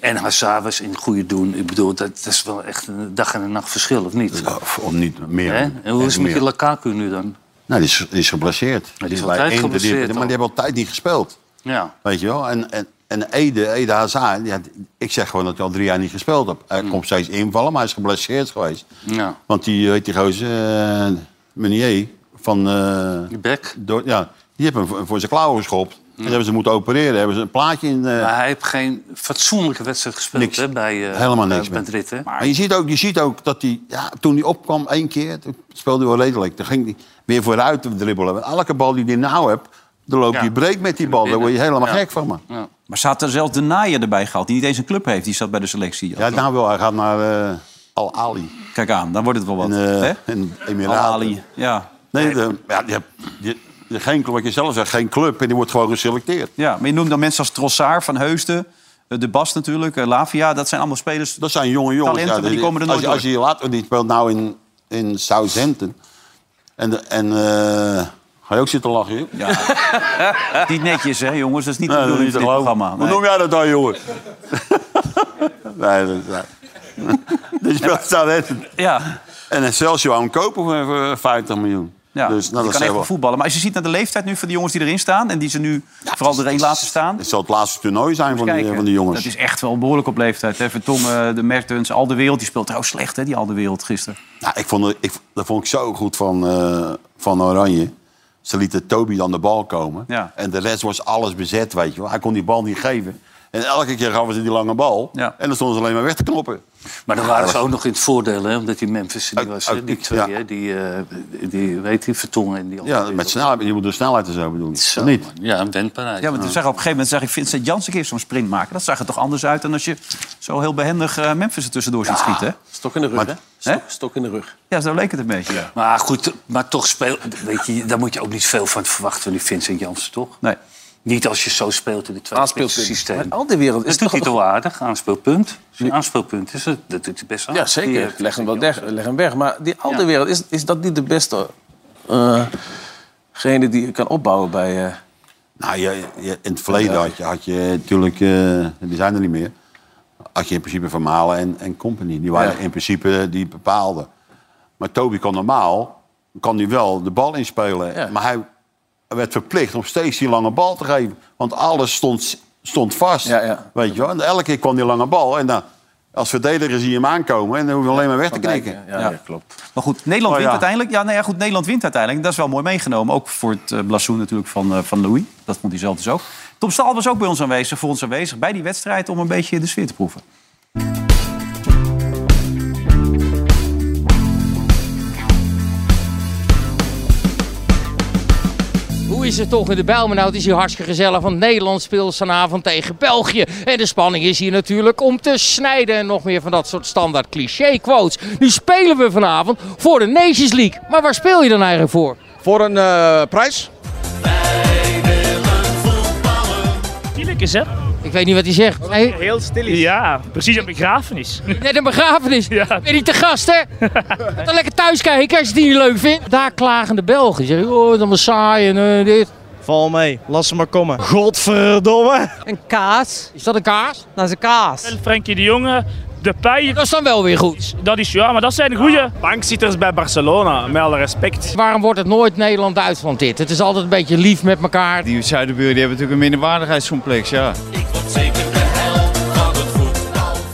En Hazard was in goede doen. Ik bedoel, dat, dat is wel echt een dag en een nacht verschil, of niet?
Of, of niet meer.
Hè? En hoe is het met
meer.
die Lukaku nu dan?
Nou, die is, die is geblesseerd.
is
Die is
altijd
bij Inter, die-
geblesseerd
Maar
al.
die hebben altijd niet gespeeld.
Ja.
Weet je wel? En, en, en Ede, Ede Hazard, ja, ik zeg gewoon dat hij al drie jaar niet gespeeld heeft. Hij komt steeds invallen, maar hij is geblesseerd geweest.
Mm. Ja.
Want die, weet die gozer, eh, Meunier van... eh,
Die bek.
door, ja, die hebben hem voor, voor zijn klauwen geschopt. En hebben ze moeten opereren. Hebben ze een plaatje in... eh,
Maar hij heeft geen fatsoenlijke wedstrijd gespeeld
Niks.
hè, bij eh
Helemaal niks meer.
Madrid. Hè?
Maar je ziet ook, je ziet ook dat hij, ja, toen hij opkwam één keer, toen speelde hij wel redelijk. Toen ging hij weer vooruit te dribbelen. Want elke bal die hij nou hebt, dan loopt
Ja.
hij breed met die bal. Daar word je helemaal gek van, man. Ja,
Maar ze had er zelfs de naaier erbij gehaald, die niet eens een club heeft. Die zat bij de selectie.
nou wel, hij gaat naar eh, Al Ali.
Kijk aan, dan wordt het wel wat.
En,
hè?
eh en Emiraten.
Ali, ja.
Nee, de- ja, die, die, die- geen, wat je zelf zegt, geen club. En die wordt gewoon geselecteerd.
ja. Maar je noemt dan mensen als Trossard, Van Heusden, eh, De Bas natuurlijk, eh, Lavia. Dat zijn allemaal spelers.
Dat zijn jonge jongens.
Talenten, maar die komen er nooit
als, je- als je later, die speelt nou in, in Southampton. En, de- en eh, ga je ook zitten lachen, joh?
Niet netjes, hè, jongens. Dat is niet de
Nee, dat
bedoeling
is
van
niet te
dit
geloven.
programma.
Hoe
Nee.
noem jij dat dan, jongen? nee, dat is waar. Die speelt Southampton.
Ja,
En Excelsior wou hem kopen voor- voor 50 miljoen.
ja.
Dus
die
nou, dat
kan echt
zijn
wel
wel...
voetballen. Maar als je ziet naar de leeftijd nu van de jongens die erin staan... en die ze nu Nou, vooral erin laten staan...
Het zal het laatste toernooi zijn van die, eh,
kijken.
van die jongens.
Dat is echt wel behoorlijk op leeftijd. Hè? Vertongen, eh, de Mertens, Al de Wereld. Die speelt trouwens slecht, hè, die Al de Wereld gisteren.
Nou, ik vond, het- ik, dat vond ik zo goed van, eh, van Oranje. Ze lieten Toby aan de bal komen.
Ja.
En de rest was alles bezet, weet je wel. Hij kon die bal niet geven. En elke keer gaven ze die lange bal.
Ja.
En dan stonden ze alleen maar weg te knoppen.
Maar dan waren ze ook nog in het voordeel, hè, omdat die Memphis er niet
Ook-
was. hè,
ook
die
niet,
twee,
ja.
hè, die, eh die, weet je, Vertongen en die
Ja,
andere.
met snelheid. Je moet de snelheid en zo bedoelen.
Zo,
Niet.
man. Ja, een wendbaarheid.
Ja, want
Ja.
toen zag ik op een gegeven moment zag ik Vincent Jans een keer zo'n sprint maken. Dat zag er toch anders uit dan als je zo heel behendig eh, Memphis er tussendoor ziet schieten. hè?
Stok in de rug, hè?
Hè?
Stok, stok in de rug.
Ja, zo leek het een beetje. Ja.
Maar goed, maar toch speelt. Weet je, daar moet je ook niet veel van verwachten van die Vincent Jansen, toch?
Nee.
Niet als je zo speelt in het tweede
Aanspeelpunt.
systeem.
Maar al die wereld is
Dat doet
toch
hij
een
toch wel aardig, aanspeelpunt. Zijn aanspeelpunt is het, dat doet hij best aardig.
Ja, zeker.
Die, eh,
Leg hem, wel weg, leg hem weg. Maar die oude wereld, is, is dat niet de beste... eh gene die je kan opbouwen bij... eh
Nou, je, je- in het verleden had je, had je natuurlijk, eh, die zijn er niet meer. Had je in principe Van Malen en, en Company. Die waren
Ja.
in principe eh, die bepaalden. Maar Toby kon normaal, kan hij wel de bal inspelen.
Ja.
Maar hij werd verplicht om steeds die lange bal te geven. Want alles stond, stond vast.
Ja, ja.
Weet je wel? En elke keer kwam die lange bal. En dan, als verdediger zie je hem aankomen. En dan hoef je alleen maar weg te
Van Dijk,
knikken.
ja, ja, klopt.
Maar goed, Nederland
Oh, ja.
wint uiteindelijk. Ja, nee, ja, goed, Nederland wint uiteindelijk. Dat is wel mooi meegenomen. Ook voor het eh, blazoen natuurlijk van, eh, van Louis. Dat vond hij zelf dus ook. Tom Staal was ook bij ons aanwezig, voor ons aanwezig bij die wedstrijd... om een beetje de sfeer te proeven.
Hoe is het toch in de Bijlmer? Nou, het is hier hartstikke gezellig, want Nederland speelt vanavond tegen België. En de spanning is hier natuurlijk om te snijden. En nog meer van dat soort standaard cliché-quotes. Nu spelen we vanavond voor de Nations League. Maar waar speel je dan eigenlijk voor?
Voor een eh, prijs?
Ik weet niet wat hij zegt. Nee,
Heel stil is. Ja, precies een begrafenis.
net een begrafenis. Ben je niet te gast, hè? Ga Dan lekker thuis kijken als je het niet leuk vindt. Daar klagen de Belgen. Zeggen, oh, het is allemaal saai en eh, dit.
Val mee, laat ze maar komen. Godverdomme.
Een kaas? Is dat een kaas? Dat is een kaas.
Frenkie de Jonge, de Pij,
Dat is dan wel weer goed.
dat is ja, maar dat zijn goede bankzitters bij Barcelona, met alle respect.
Waarom wordt het nooit Nederland-Duitsland dit? Het is altijd een beetje lief met elkaar.
Die Zuiderburen die hebben natuurlijk een minderwaardigheidscomplex, ja.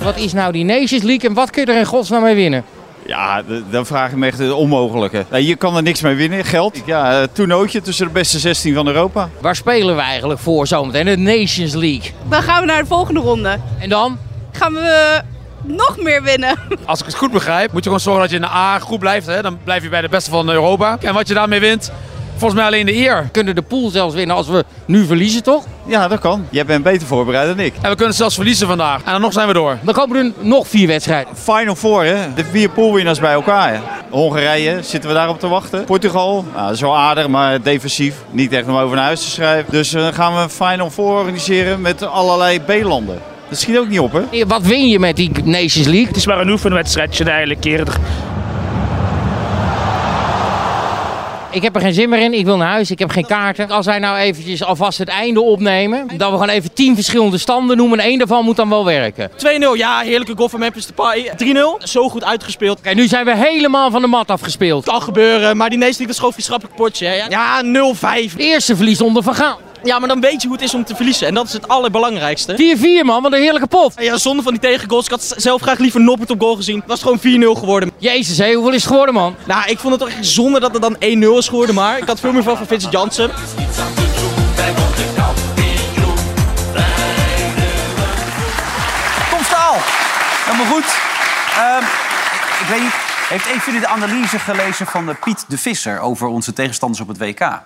Wat is nou die Nations League en wat kun je er in godsnaam mee winnen?
Ja, d- dan vraag ik me echt het onmogelijke. Nee, je kan er niks mee winnen, geld. Ja, eh, toernooitje tussen de beste 16 van Europa.
Waar spelen we eigenlijk voor zometeen? De Nations League.
Dan gaan we naar de volgende ronde.
En dan?
Gaan we nog meer winnen.
Als ik het goed begrijp, moet je gewoon zorgen dat je in de A-groep blijft. Hè? Dan blijf je bij de beste van Europa. En wat je daarmee wint,
Volgens mij alleen de eer. We kunnen de pool zelfs winnen als we nu verliezen, toch?
Ja, dat kan. Jij bent beter voorbereid dan ik.
En we kunnen zelfs verliezen vandaag. En dan nog zijn we door.
Dan komen er nog vier wedstrijden.
Final Four, hè? De vier poolwinners bij elkaar. hè? Hongarije, zitten we daarop te wachten. Portugal, nou, dat is wel aardig, maar defensief. Niet echt om over naar huis te schrijven. Dus eh, dan gaan we een Final Four organiseren met allerlei B-landen. Dat schiet ook niet op, hè?
Wat win je met die Nations League?
Het is maar een oefenwedstrijdje eigenlijk eerder.
Ik heb er geen zin meer in. Ik wil naar huis. Ik heb geen kaarten. Als wij nou eventjes alvast het einde opnemen. Dan we gewoon even tien verschillende standen noemen. En één daarvan moet dan wel werken.
2-0, ja, heerlijke goal van Memphis Depay. 3-0, zo goed uitgespeeld. Oké,
nu zijn we helemaal van de mat afgespeeld.
Kan gebeuren, maar die Nations League, dat is gewoon vriendschappelijk potje. Hè? Ja, 0-5.
Eerste verlies onder Van Gaal.
Ja, maar dan weet je hoe het is om te verliezen. En dat is het allerbelangrijkste.
4-4 man, wat een heerlijke pot.
Ja, zonder van die tegengoals. Ik had z- zelf graag liever Noppert op goal gezien. Dat was gewoon 4-0 geworden.
Jezus, hé, hoeveel is het geworden, man?
Nou, ik vond het toch echt zonde dat het dan 1-0 is geworden. Maar ik had veel meer van van Vincent Janssen.
Kom staal. Helemaal goed. Ehm, ik weet niet, heeft een van jullie de analyse gelezen van eh, Piet de Visser over onze tegenstanders op het WK?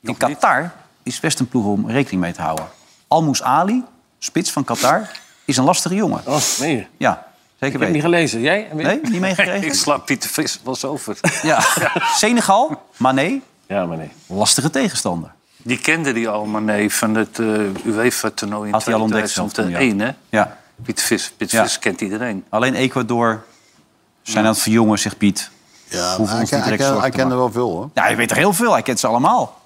In Qatar is best een ploeg om rekening mee te houden. Almoes Ali, spits van Qatar, is een lastige jongen.
Oh, nee.
Ja, zeker
Ik heb niet gelezen. Jij?
Nee, niet meegekregen?
ik slaap Pieter Vis was over.
Ja. Senegal, Mané.
Ja, Mané.
Lastige tegenstander.
Die kende die al, maar nee, van het eh, UEFA-toernooi in
Had hij al ontdekt zelf toen, ja.
2001, hè?
Ja.
Piet Vis, Piet
Ja.
Vis kent iedereen.
Alleen Ecuador zijn aan het verjongen, zegt Piet.
Ja,
Hoeven
hij
ons
ken-
niet
hij
direct
ken-
zorgen
hij
te
kent
maken.
er wel veel, hoor.
Ja, hij weet er heel veel. Hij kent ze allemaal.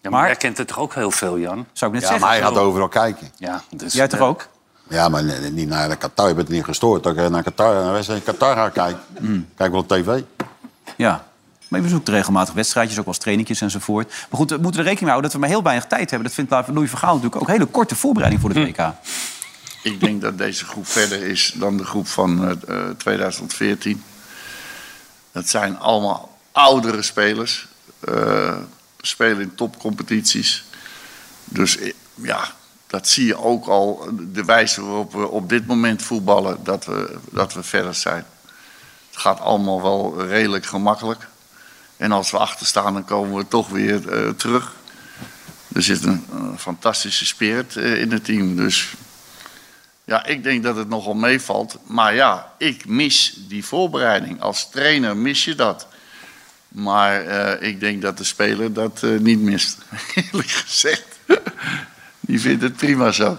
Ja, maar, jij kent het toch ook heel veel, Jan?
Zou ik net
Ja,
zeggen.
maar hij gaat overal kijken.
Ja, dus,
Jij toch
eh,
ook?
Ja, maar nee, nee, niet naar Qatar. Je bent niet gestoord. Dat ik naar Qatar, naar een wedstrijd in Qatar ga kijken.
Mm.
Kijk wel op tv.
Ja. Maar je bezoekt regelmatig wedstrijdjes, ook wel eens trainingjes enzovoort. Maar goed, we moeten er rekening mee houden dat we maar heel weinig tijd hebben. Dat vindt Louis van Gaal natuurlijk ook. Hele korte voorbereiding voor
Hm.
de WK.
Ik denk dat deze groep verder is dan de groep van eh, eh, 2014. Dat zijn allemaal oudere spelers. eh, spelen in topcompetities. Dus eh, ja, dat zie je ook al. De wijze waarop we op dit moment voetballen, dat we, dat we verder zijn. Het gaat allemaal wel redelijk gemakkelijk. En als we achterstaan, dan komen we toch weer eh, terug. Er zit een, een fantastische spirit eh, in het team. Dus ja, ik denk dat het nogal meevalt. Maar ja, ik mis die voorbereiding. Als trainer mis je dat. Maar eh, ik denk dat de speler dat eh, niet mist. Eerlijk gezegd. Die vindt het prima zo.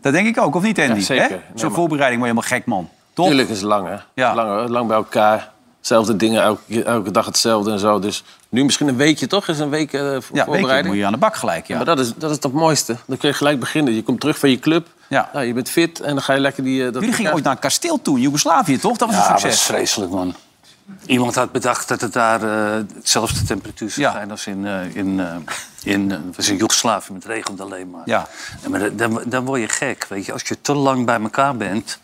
Dat denk ik ook, of niet Andy?
Ja, zeker.
Hè?
Nee,
Zo'n
maar-
voorbereiding word je helemaal gek, man. Toch?
Tuurlijk is het lang, hè? Lang, lang bij elkaar. Zelfde dingen, elke, elke dag hetzelfde en zo. Dus nu misschien een weekje toch? Is een week eh, voor- voorbereiding.
weekje moet je aan de bak gelijk, ja.
Maar dat is, dat is het mooiste. Dan kun je gelijk beginnen. Je komt terug van je club. Nou, je bent fit en dan ga je lekker die... eh, dat
Jullie gingen ooit naar een kasteel toe in Joegoslavië, toch? Dat was
Ja,
een
dat
succes.
is vreselijk, man. Iemand had bedacht dat het daar eh, hetzelfde temperatuur zou zijn als in, eh, in, eh, in, eh, was in Joegoslavië. Het regent alleen maar.
Ja.
Ja, maar dat- dan, dan word je gek, weet je. Als je te lang bij elkaar bent...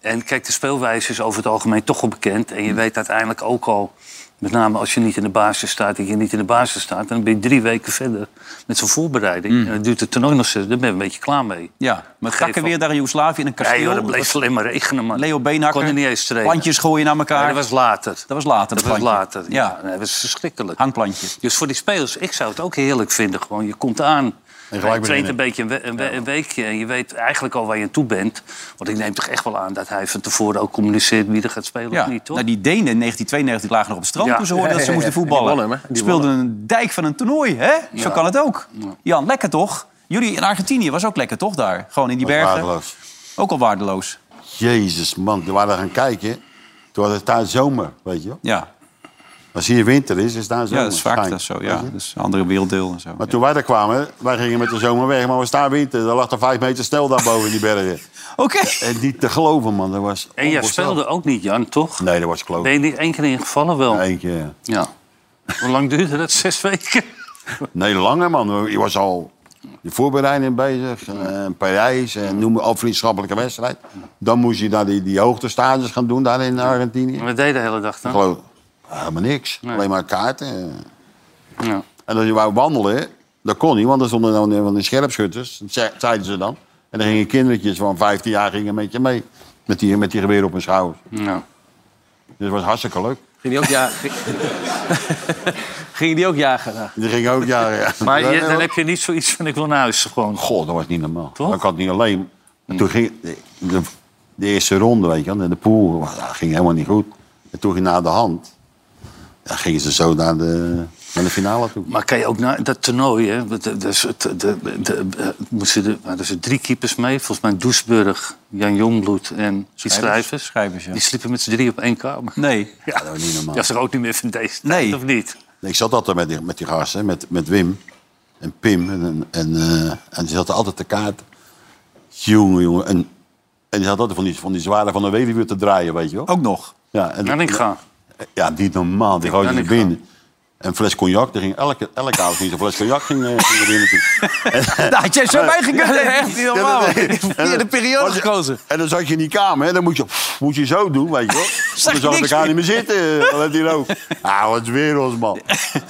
En kijk, de speelwijze is over het algemeen toch wel bekend. En je weet uiteindelijk ook al... Met name als je niet in de basis staat en je niet in de basis staat... dan ben je drie weken verder met zo'n voorbereiding. En dan duurt het toernooi nog zes, dan ben je een beetje klaar mee.
Mm. Ja, met
Geef
takken
op.
weer daar in Joegoslavië in een kasteel.
Nee, joh, dat bleef alleen maar regenen, man.
Leo Beenhakker.
Kon er niet eens trainen.
Plantjes gooien naar elkaar.
Ja, dat was later.
Dat was later,
Dat
dat
was
plantje.
later. Ja, nee, dat is verschrikkelijk.
Hangplantje.
Dus voor die spelers, ik zou het ook heerlijk vinden. Gewoon, je komt aan.
gelijk
Je traint
beginnen.
een beetje een, we- een, we- een weekje en je weet eigenlijk al waar je aan toe bent. Want ik neem toch echt wel aan dat hij van tevoren ook communiceert wie er gaat spelen
Ja,
of niet, toch?
nou, die Denen in 1992 lagen nog op het strand
Ja.
toen ze hoorden dat ze
Ja, ja, ja.
moesten
Die
voetballen.
wonnen hem, hè? Die
Speelden een dijk van een toernooi, hè? Zo
Ja.
kan het ook. Jan, lekker toch? Jullie in Argentinië was ook lekker toch daar? Gewoon in die
Dat is
bergen.
waardeloos.
Ook al waardeloos.
Jezus, man. We waren gaan kijken. Toen was het daar zomer, weet je wel.
Ja,
Als hier winter is, is daar zomer.
ja dat is vaak
Schijn,
dat zo.
weet
Ja.
je.
Dat is een andere werelddeel en zo.
Maar toen wij daar kwamen, wij gingen met de zomer weg. Maar we staan winter. Er lag er vijf meter stel daar boven in die bergen.
Oké.
En niet te geloven, man. Dat was
En jij
onvoorstelbaar.
speelde ook niet, Jan, toch?
Nee, dat was kloot.
Ben je niet één keer ingevallen wel?
Eén keer, ja.
Ja. Hoe lang duurde dat? Zes weken?
Nee, langer man. Je was al de voorbereiding bezig. eh, Parijs, en noem maar op vriendschappelijke wedstrijd. Dan moest je daar die, die hoogtestages gaan doen daar in Argentinië.
Wat deed je de hele dag dan?
Geloof, helemaal niks. Alleen maar kaarten. eh.
Ja.
En als je wou wandelen, dat kon niet. Want er stonden dan van die scherpschutters. Dat ze- zeiden ze dan. En dan gingen kindertjes van 15 jaar gingen met je mee. Met die, met die geweer op hun schouders.
Ja.
Dus het was hartstikke leuk.
Ging die ook, ja, ging, Ging die ook jagen? daar?
Die ging ook jagen, ja.
Maar
eh,
je- dan heb je niet zoiets van ik wil naar huis gewoon.
Goh, dat was niet normaal. Ik had niet alleen...
Hmm.
En toen ging de, de- de eerste ronde, weet je wel, de pool, was- dat ging helemaal niet goed. En toen ging naar de hand. Dan gingen ze zo naar de, naar de finale toe.
Maar kan je ook naar dat toernooi, hè? want, eh, Dus, het- de, de, de, eh, moesten er, waren er drie keepers mee. Volgens mij Doesburg, Jan Jongbloed en die schrijvers.
schrijvers ja.
Die sliepen met z'n drie op één kamer.
Nee.
Ja, dat
was niet normaal.
Dat is er ook niet meer van deze tijd,
Nee.
of niet?
Ik zat altijd met die, met die gasten, met, met Wim en Pim. En, en, eh, en die zaten altijd te kaart. Jongen, jongen. En, en die zaten altijd van die, van die zware van de weduwe te draaien, weet je wel.
Ook nog.
Ja, en,
Oh, Dan ik ga.
Ja, die normaal. Die gooide er binnen. Een fles cognac, er ging elke, elke avond niet een fles cognac ging, eh, ging er binnen toe.
Nou, had jij zo bij gekund, hè? Echt niet normaal.
de periode gekozen. En dan zat je in die kamer, hè? dan moet je, moet je zo doen, weet je wel.
Zag je
Dan zag
niks
ik elkaar
meer.
niet meer zitten, eh, dan heb je ook. Ah, wat werelds, man.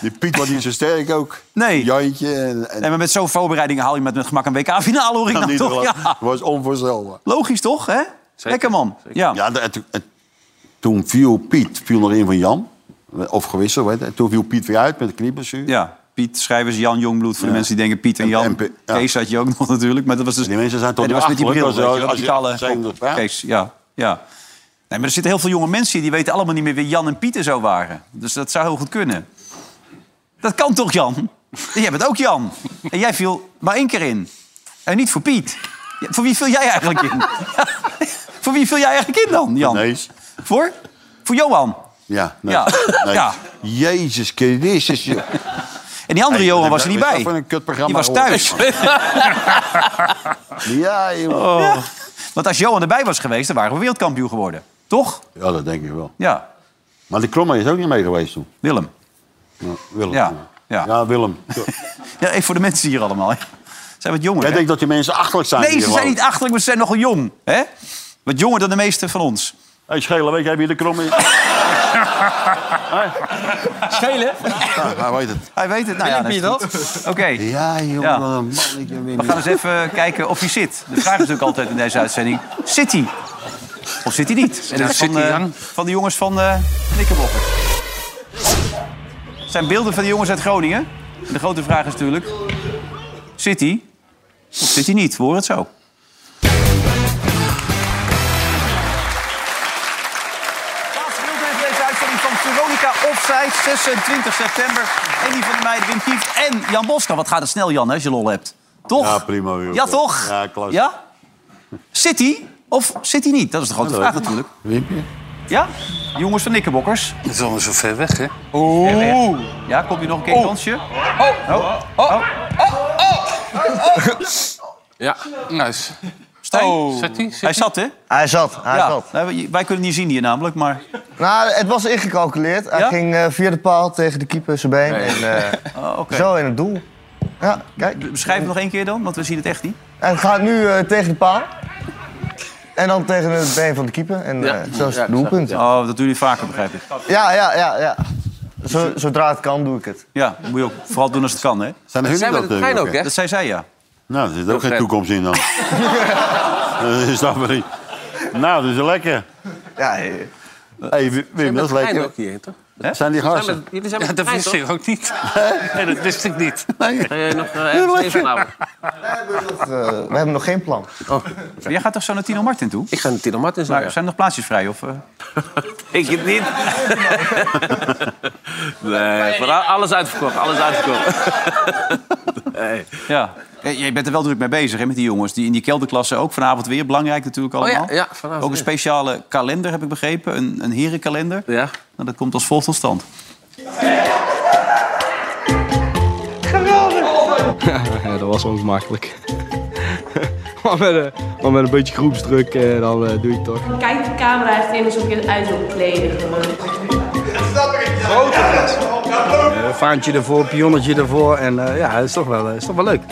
Die Piet was niet zo sterk ook.
Nee.
Jantje en... en
Nee, maar met zo'n voorbereiding haal je met, met gemak een WK-finale, hoor ik
Dat
nou
niet
toch?
wel.
Ja.
was onvoorstelbaar.
Logisch toch, hè? Lekker man. Ja.
Ja, en toen, en toen viel Piet, viel nog in van Jan. Of gewisseld, weet je. En toen viel Piet weer uit met een knieblessure.
ja. Piet, schrijvers, Jan Jongbloed. Voor
Ja.
de mensen die denken Piet en Jan.
en Pi- ja.
Kees had je ook nog natuurlijk. Maar dat was dus,
Die mensen zijn toch
en die was met die bril,
achterlijk,
weet je,
als-
wel,
als
die
je-
kale
zijn
kop.
dat, ja.
Kees, ja. ja. Nee, maar er zitten heel veel jonge mensen hier. Die weten allemaal niet meer wie Jan en Piet en zo waren. Dus dat zou heel goed kunnen. Dat kan toch, Jan? En jij bent ook Jan. En jij viel maar één keer in. En niet voor Piet. Ja, voor wie viel jij eigenlijk in? voor wie viel jij eigenlijk in dan, Jan?
Nees.
Voor? Voor Johan.
Ja, nee.
Ja.
Nee.
Ja.
Jezus Christus. joh.
En die andere
Hey,
Johan
dat-
was er
dat-
niet
dat is
bij.
toch een kutprogramma,
die was
hoor.
thuis.
Ja, joh.
Ja. Want als Johan erbij was geweest, dan waren we wereldkampioen geworden. Toch?
Ja, dat denk ik wel.
Ja.
Maar die Krommer is ook niet mee geweest toen.
Willem.
Ja, Willem.
Ja. Ja.
Ja, Willem. Ja.
ja even voor de mensen hier allemaal. hè. Zijn wat jonger.
Jij
hè?
denkt dat die mensen achterlijk zijn.
Nee,
hier
ze
gewoon.
zijn niet achterlijk, maar ze zijn nogal jong. Hè? Wat jonger dan de meeste van ons.
Hey, Schelen, weet jij wie de Krommer is?
Schelen?
Ja, hij weet het.
Hij weet het. Nou ja, dat is goed. Oké.
Ja, joh.
Ja.
wat een mannetje, Wim.
We gaan eens even kijken of hij zit. De vraag is natuurlijk altijd in deze uitzending: zit hij? Of zit hij niet? En dat is
Zit
van,
hij,
eh,
Jan?
van de jongens van eh Knikkenbokker. Het zijn beelden van de jongens uit Groningen. En de grote vraag is natuurlijk: zit hij? Of zit hij niet? We horen het zo. Laatste gedeelte van deze uitzending van Veronica Offside, 26 september. En die van de meiden Wim Kieft en Jan Boskamp. Wat gaat het snel, Jan, hè, als je lol hebt. Toch?
Ja, prima, joh.
Ja, toch?
Ja, klasse.
Ja? Zit hij of zit hij niet? Dat is de grote
Ja, dat
vraag
weet ik.
natuurlijk.
Wimpje.
Ja? Jongens van Nikkebokkers.
Dat is allemaal zo ver weg, hè?
Oeh. Ja, komt hier nog een keer een dansje? Oh. Oh. Oh.
Ja.
Nice.
Stijn.
Zit hij? Zit
Hij zat, hè?
Hij zat, hij
ja.
zat.
Nou, wij- Wij kunnen niet zien hier namelijk, maar...
Nou, het was ingecalculeerd. Hij
Ja?
ging eh, via de paal tegen de keeper zijn been. En, eh,
Oh, oké.
Zo in het doel. Ja, kijk.
Beschrijf het nog één keer dan, want we zien het echt niet.
En het gaat nu eh, tegen de paal. En dan tegen het been van de keeper. En
Ja.
eh, zo is
Ja,
het doelpunt. Ja,
Oh, dat doen jullie vaker, begrijp ik.
ja, ja. ja, Zo, zodra het kan, doe ik het.
Ja, dat moet je ook vooral doen als het kan, hè?
Zijn
Dat
jullie
zijn we met
dat?
de
eh,
trein ook,
Wimpje?
hè?
Dat zei zij, ja.
Nou, er zit ook geen
Fred.
toekomst in dan. dat is dat maar niet. Nou, dat is lekker.
Ja, eh,
hey, Wim, Wim, dat is
Fijn
lekker.
ook hier, toch?
Zijn die
Zijn
gasten?
we- Jullie zijn
Ja,
met de
dat
trein,
wist
toch?
ik ook niet. Nee, dat wist ik niet.
Ga jij nog eh, ergens heen vanavond?
dat, eh, we hebben nog geen plan.
Maar jij gaat toch zo naar Tino Martin toe?
Ik ga naar Tino Martens.
Maar
ja.
zijn er nog plaatsjes vrij? Of, eh?
Ik het niet. nee, Eh, vooral alles uitverkocht, alles uitverkocht. nee.
ja. Eh, Jij bent er wel druk mee bezig, hè, met die jongens. Die in die kelderklasse ook vanavond weer. Belangrijk natuurlijk allemaal.
Oh ja, ja, vanavond
ook een
weer.
speciale kalender, heb ik begrepen. Een, een herenkalender.
Ja.
Nou, dat komt als volgt tot stand.
Ja, dat was ongemakkelijk. maar, met een, maar met een beetje groepsdruk, eh, dan eh, doe je het toch.
Kijk de camera echt in alsof je het uit wil kleden.
Een vaantje ervoor, pionnetje ervoor. En ja, dat is toch wel, is toch wel leuk.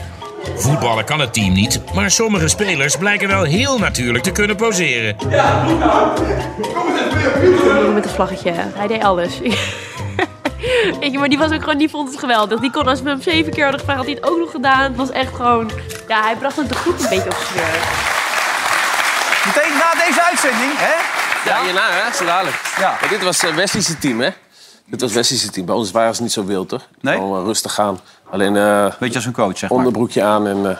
Voetballen kan het team niet, maar sommige spelers blijken wel heel natuurlijk te kunnen poseren.
Met een vlaggetje. Hij deed alles. Weet je, maar die was ook gewoon, die vond het geweldig. Die kon als we hem zeven keer hadden gevraagd, had hij het ook nog gedaan. Het was echt gewoon, ja, hij bracht het de groep een beetje op sfeer.
Meteen na deze uitzending, hè?
Ja, hierna, hè? Zo dadelijk.
Ja.
Ja, dit was eh, Wesley's team, hè? Het was Westische team. Bij ons waren ze niet zo wild, hoor. Gewoon eh, rustig aan. Alleen... eh
Beetje als een coach, zeg maar.
onderbroekje aan en eh,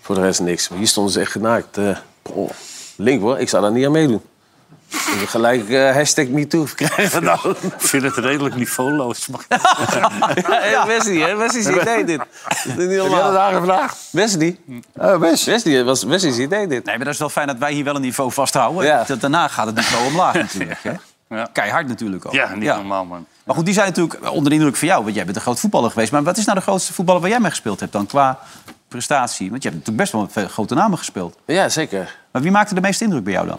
voor de rest niks. Maar hier stonden ze echt genaakt. eh. oh, link hoor, ik zou daar niet aan meedoen. Ik heb gelijk eh hashtag MeToo krijgen dan. Ik
vind het redelijk niveauloos.
ja, Wesley, hè? Wesley is idee dit. Dit is niet normaal. Wesley?
Oh,
Wes. Wesley, was, Wesley is idee dit.
Nee, maar dat is wel fijn dat wij hier wel een niveau vasthouden.
Ja.
Dat, daarna gaat het niveau omlaag natuurlijk. Hè? Keihard natuurlijk ook.
Ja, niet normaal, man.
Maar goed, die zijn natuurlijk onder de indruk van jou. Want jij bent een groot voetballer geweest. Maar wat is nou de grootste voetballer waar jij mee gespeeld hebt dan qua prestatie? Want je hebt natuurlijk best wel veel grote namen gespeeld.
Ja, zeker.
Maar wie maakte de meeste indruk bij jou dan?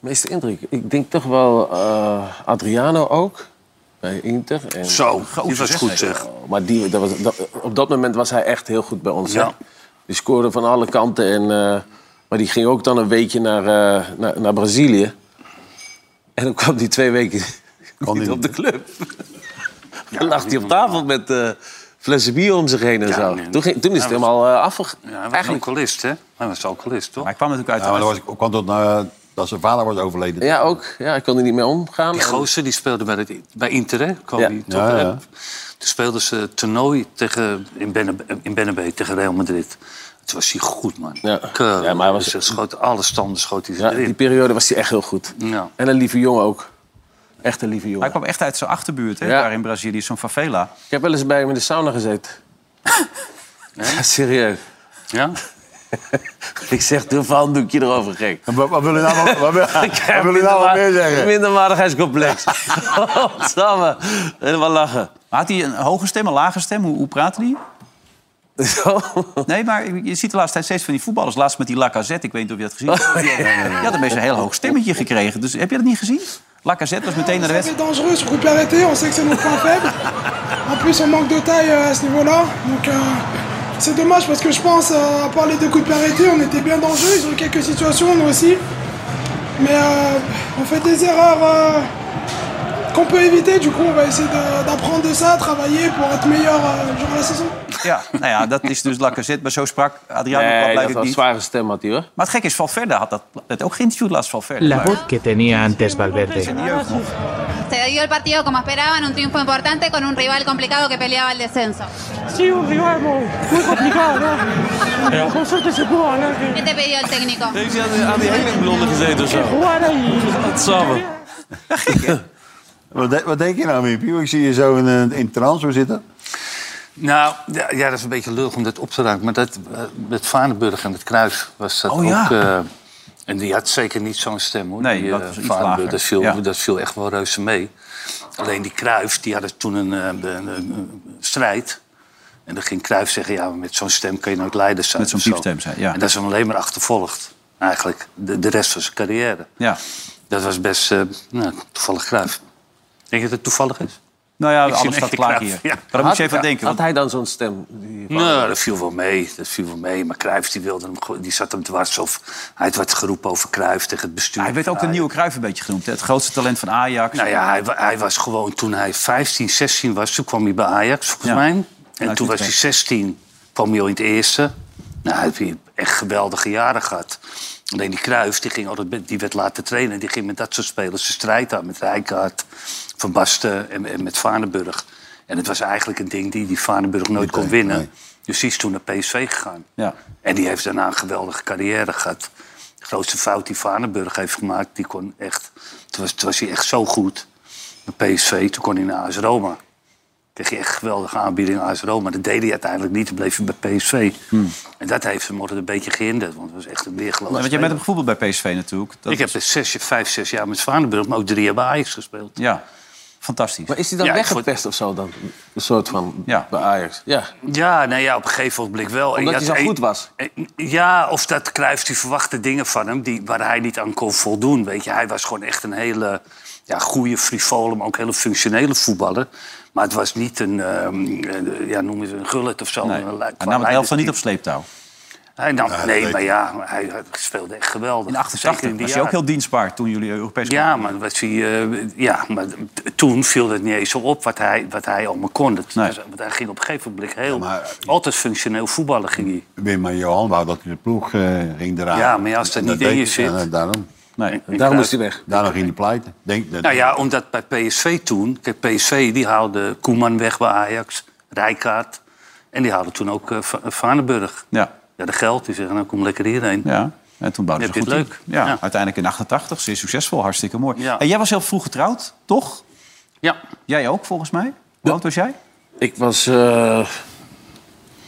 Meeste indruk. Ik denk toch wel eh, Adriano ook. Bij Inter. En
Zo, die was goed zeg.
Maar die, dat was, dat- op dat moment was hij echt heel goed bij ons.
Ja.
hè. Die scoorde van alle kanten. En, eh, maar die ging ook dan een weekje naar, eh, naar, naar Brazilië. En dan kwam die twee weken niet op de club. dan lag hij op tafel met eh, flessen bier om zich heen en zo. toen, ging, toen is het
Hij was-
helemaal eh, afge...
Ja, hij was alcoholist, hè? Hij was alcoholist, toch?
Hij kwam natuurlijk
Ja, maar dat was, ik kwam tot eh, dat zijn vader was overleden.
Ja, ook. Ja, ik kon er niet mee omgaan.
Die gozer die speelde bij, het, bij Inter, hè? Kwam
Ja.
die
Ja,
toch,
ja.
hè? Toen speelden ze toernooi tegen, in, Benne, in Bennebe tegen Real Madrid. Toen was hij goed, man.
Ja.
Keur,
Ja, maar hij was-
Ze schoot, alle standen schoot hij
Ja,
erin.
die periode was hij echt heel goed.
Ja.
En een lieve jongen ook. Echt een lieve jongen.
Hij kwam echt uit zijn achterbuurt, hè,
Ja.
daar in Brazilië, zo'n favela.
Ik heb wel eens bij hem in de sauna gezeten. Ja, serieus.
Ja?
ik zeg, doe een handdoekje erover, gek.
Wat, wat wil je nou wat, wat wil- wat
Ja,
wil je nou wat meer zeggen?
Minderwaardigheidscomplex. Godsamme. Helemaal lachen.
Maar had hij een hoge stem, een lage stem? Hoe, hoe praatte hij? Nee, maar je ziet de laatste tijd steeds van die voetballers. Laatst met die Lacazette, ik weet niet of je dat gezien hebt.
Oh,
Die had een beetje een heel hoog stemmetje gekregen. Dus heb je dat niet gezien? Lacazette was meteen naar de
C'est
wedstrijd.
dangereux sur coup de pied arrêté, on sait que c'est notre point faible. En plus, on manque de taille euh, à ce niveau-là. Donc, euh, c'est dommage parce que je pense, euh, à part les deux coups de pied arrêtés, on était bien dangereux. Ils ont eu quelques situations, nous aussi. Mais euh, on fait des erreurs euh, qu'on peut éviter. Du coup, on va essayer de- d'apprendre de ça, travailler pour être meilleur euh, durant la saison.
Ja, nou ja, dat is dus Lacazette. Maar zo sprak Adriano Plat
Nee, dat
blijkbaar
was een
niet.
zware stem had hij, hoor.
Maar het gek is, Valverde had dat, dat ook geïnterviewd laatst, Valverde.
La
Maar-
voz que tenía antes Valverde.
Se dio el partido como esperaban, un triunfo importante con un rival complicado que peleaba el descenso.
Sí, un rival muy, complicado, ¿no? Con suerte se pudo ganar.
¿Qué te pidió el técnico?
Heeft hij aan die, aan die helingblonde gezeten of zo? Godsamme.
Wat, de- wat denk je nou, Miepie? Ik zie je zo in, een- in trance zo zitten.
Nou, ja, ja, dat is een beetje lullig om dat op te ruimen. Maar dat, eh, met Vaneburg en met Kruis was dat
Oh, ja.
ook... eh, en die had zeker niet zo'n stem, hoor.
Nee,
die,
dat
eh,
was iets
Vaneburg,
lager.
Dat viel,
Ja.
dat viel echt wel reuze mee. Alleen die Kruis, die hadden toen een, eh, een- een strijd. En dan ging Kruis zeggen, ja, maar met zo'n stem kun je nooit leider zijn.
Met zo'n
of zo.
piepstem zijn, ja.
En dat is hem alleen maar achtervolgd, eigenlijk. De, de rest van zijn carrière.
Ja.
Dat was best eh, nou, toevallig Kruis. Denk je dat het toevallig is?
Nou ja,
Ik zie
alles
hem
staat
echt
klaar
in
hier.
Cruijff, ja.
Maar daar moet je even aan denken.
Had
want-
hij dan zo'n stem? Die-
Nou, dat viel wel mee. Dat viel wel mee. Maar Cruijff die wilde hem, gewoon- die zat hem dwars. Of hij had wat geroepen over Cruijff tegen het bestuur.
Hij werd ook de nieuwe Cruijff een beetje genoemd. hè. Het grootste talent van Ajax.
Nou ja, hij, wa- hij was gewoon toen hij 15, 16 was. Toen kwam hij bij Ajax, volgens
Ja.
mij. En
Uit
toen was hij
Utrecht.
16. Kwam hij al in het eerste. Nou, hij heeft hier echt geweldige jaren gehad. Alleen die Cruijff, die, ging altijd, met- die werd laten trainen. Die ging met dat soort spelers de strijd aan. Met Rijkaard, Van Basten en, en met Vaneburg. En het was eigenlijk een ding die, die Vaneburg nooit kon winnen. Dus die is toen naar PSV gegaan.
Ja.
En die heeft daarna een geweldige carrière gehad. De grootste fout die Vanenburg heeft gemaakt, die kon echt... Toen was, toen was hij echt zo goed bij PSV, toen kon hij naar AS Roma. Kreeg hij echt geweldige aanbieding aan AS Roma. Dat deed hij uiteindelijk niet, toen bleef hij bij PSV.
Hmm.
En dat heeft hem altijd een beetje gehinderd, want het was echt een weergeloos
Want jij bent hem gevoetbald bij PSV natuurlijk. Dat
Ik heb dus zes, vijf, zes jaar met Vanenburg, maar ook drie jaar bij Ajax gespeeld.
Ja, fantastisch.
Maar is hij dan
Ja, ik
weggepest of zo dan? Een soort van bij Ajax. Ja.
Ja, nou ja, op een gegeven ogenblik wel. En
Omdat hij
je had
zo
een-
goed was.
Ja, of dat Cruijff die verwachtte dingen van hem die, waar hij niet aan kon voldoen. Weet je, hij was gewoon echt een hele ja, goede, frivole, maar ook hele functionele voetballer. Maar het was niet een, ehm, eh, ja, noem eens een gullet of zo.
Nee.
Een
Hij
la-
nam het
qua
elftal niet
leiderstype.
op sleeptouw.
Hij nam,
Ja,
nee,
dat
maar
weet
ja, hij, hij speelde echt geweldig.
In
Zeker
88
die
was hij ook
jaren.
heel dienstbaar toen jullie Europees
Ja, maar, wat hij, eh, ja, maar t- toen viel het niet eens zo op wat hij, wat hij allemaal kon. Dat,
Nee.
dus- want hij ging op een gegeven moment heel... altijd functioneel voetballen ging hij.
Wim maar Johan wou dat hij de ploeg eh, ging draaien.
Ja, maar ja, als dat niet in je
deed-
zit.
ja, nou, daarom.
Nee.
Daarom moest hij weg.
Daarom ging hij pleiten. Denk,
Nou ja, omdat bij PSV toen... Kijk, PSV die haalde Koeman weg bij Ajax, Rijkaard. En die haalden toen ook eh, Va- Vaneburg.
Ja.
Ja, de geld. Die zeggen, nou kom lekker hierheen.
Ja. En toen bouwden
Heb
ze
je
goed
het
team.
leuk?
Ja,
Ja.
uiteindelijk in 88. Zeer succesvol, hartstikke mooi.
Ja.
En jij was heel vroeg getrouwd, toch?
Ja.
Jij ook, volgens mij? Hoe oud was jij?
Ik was eh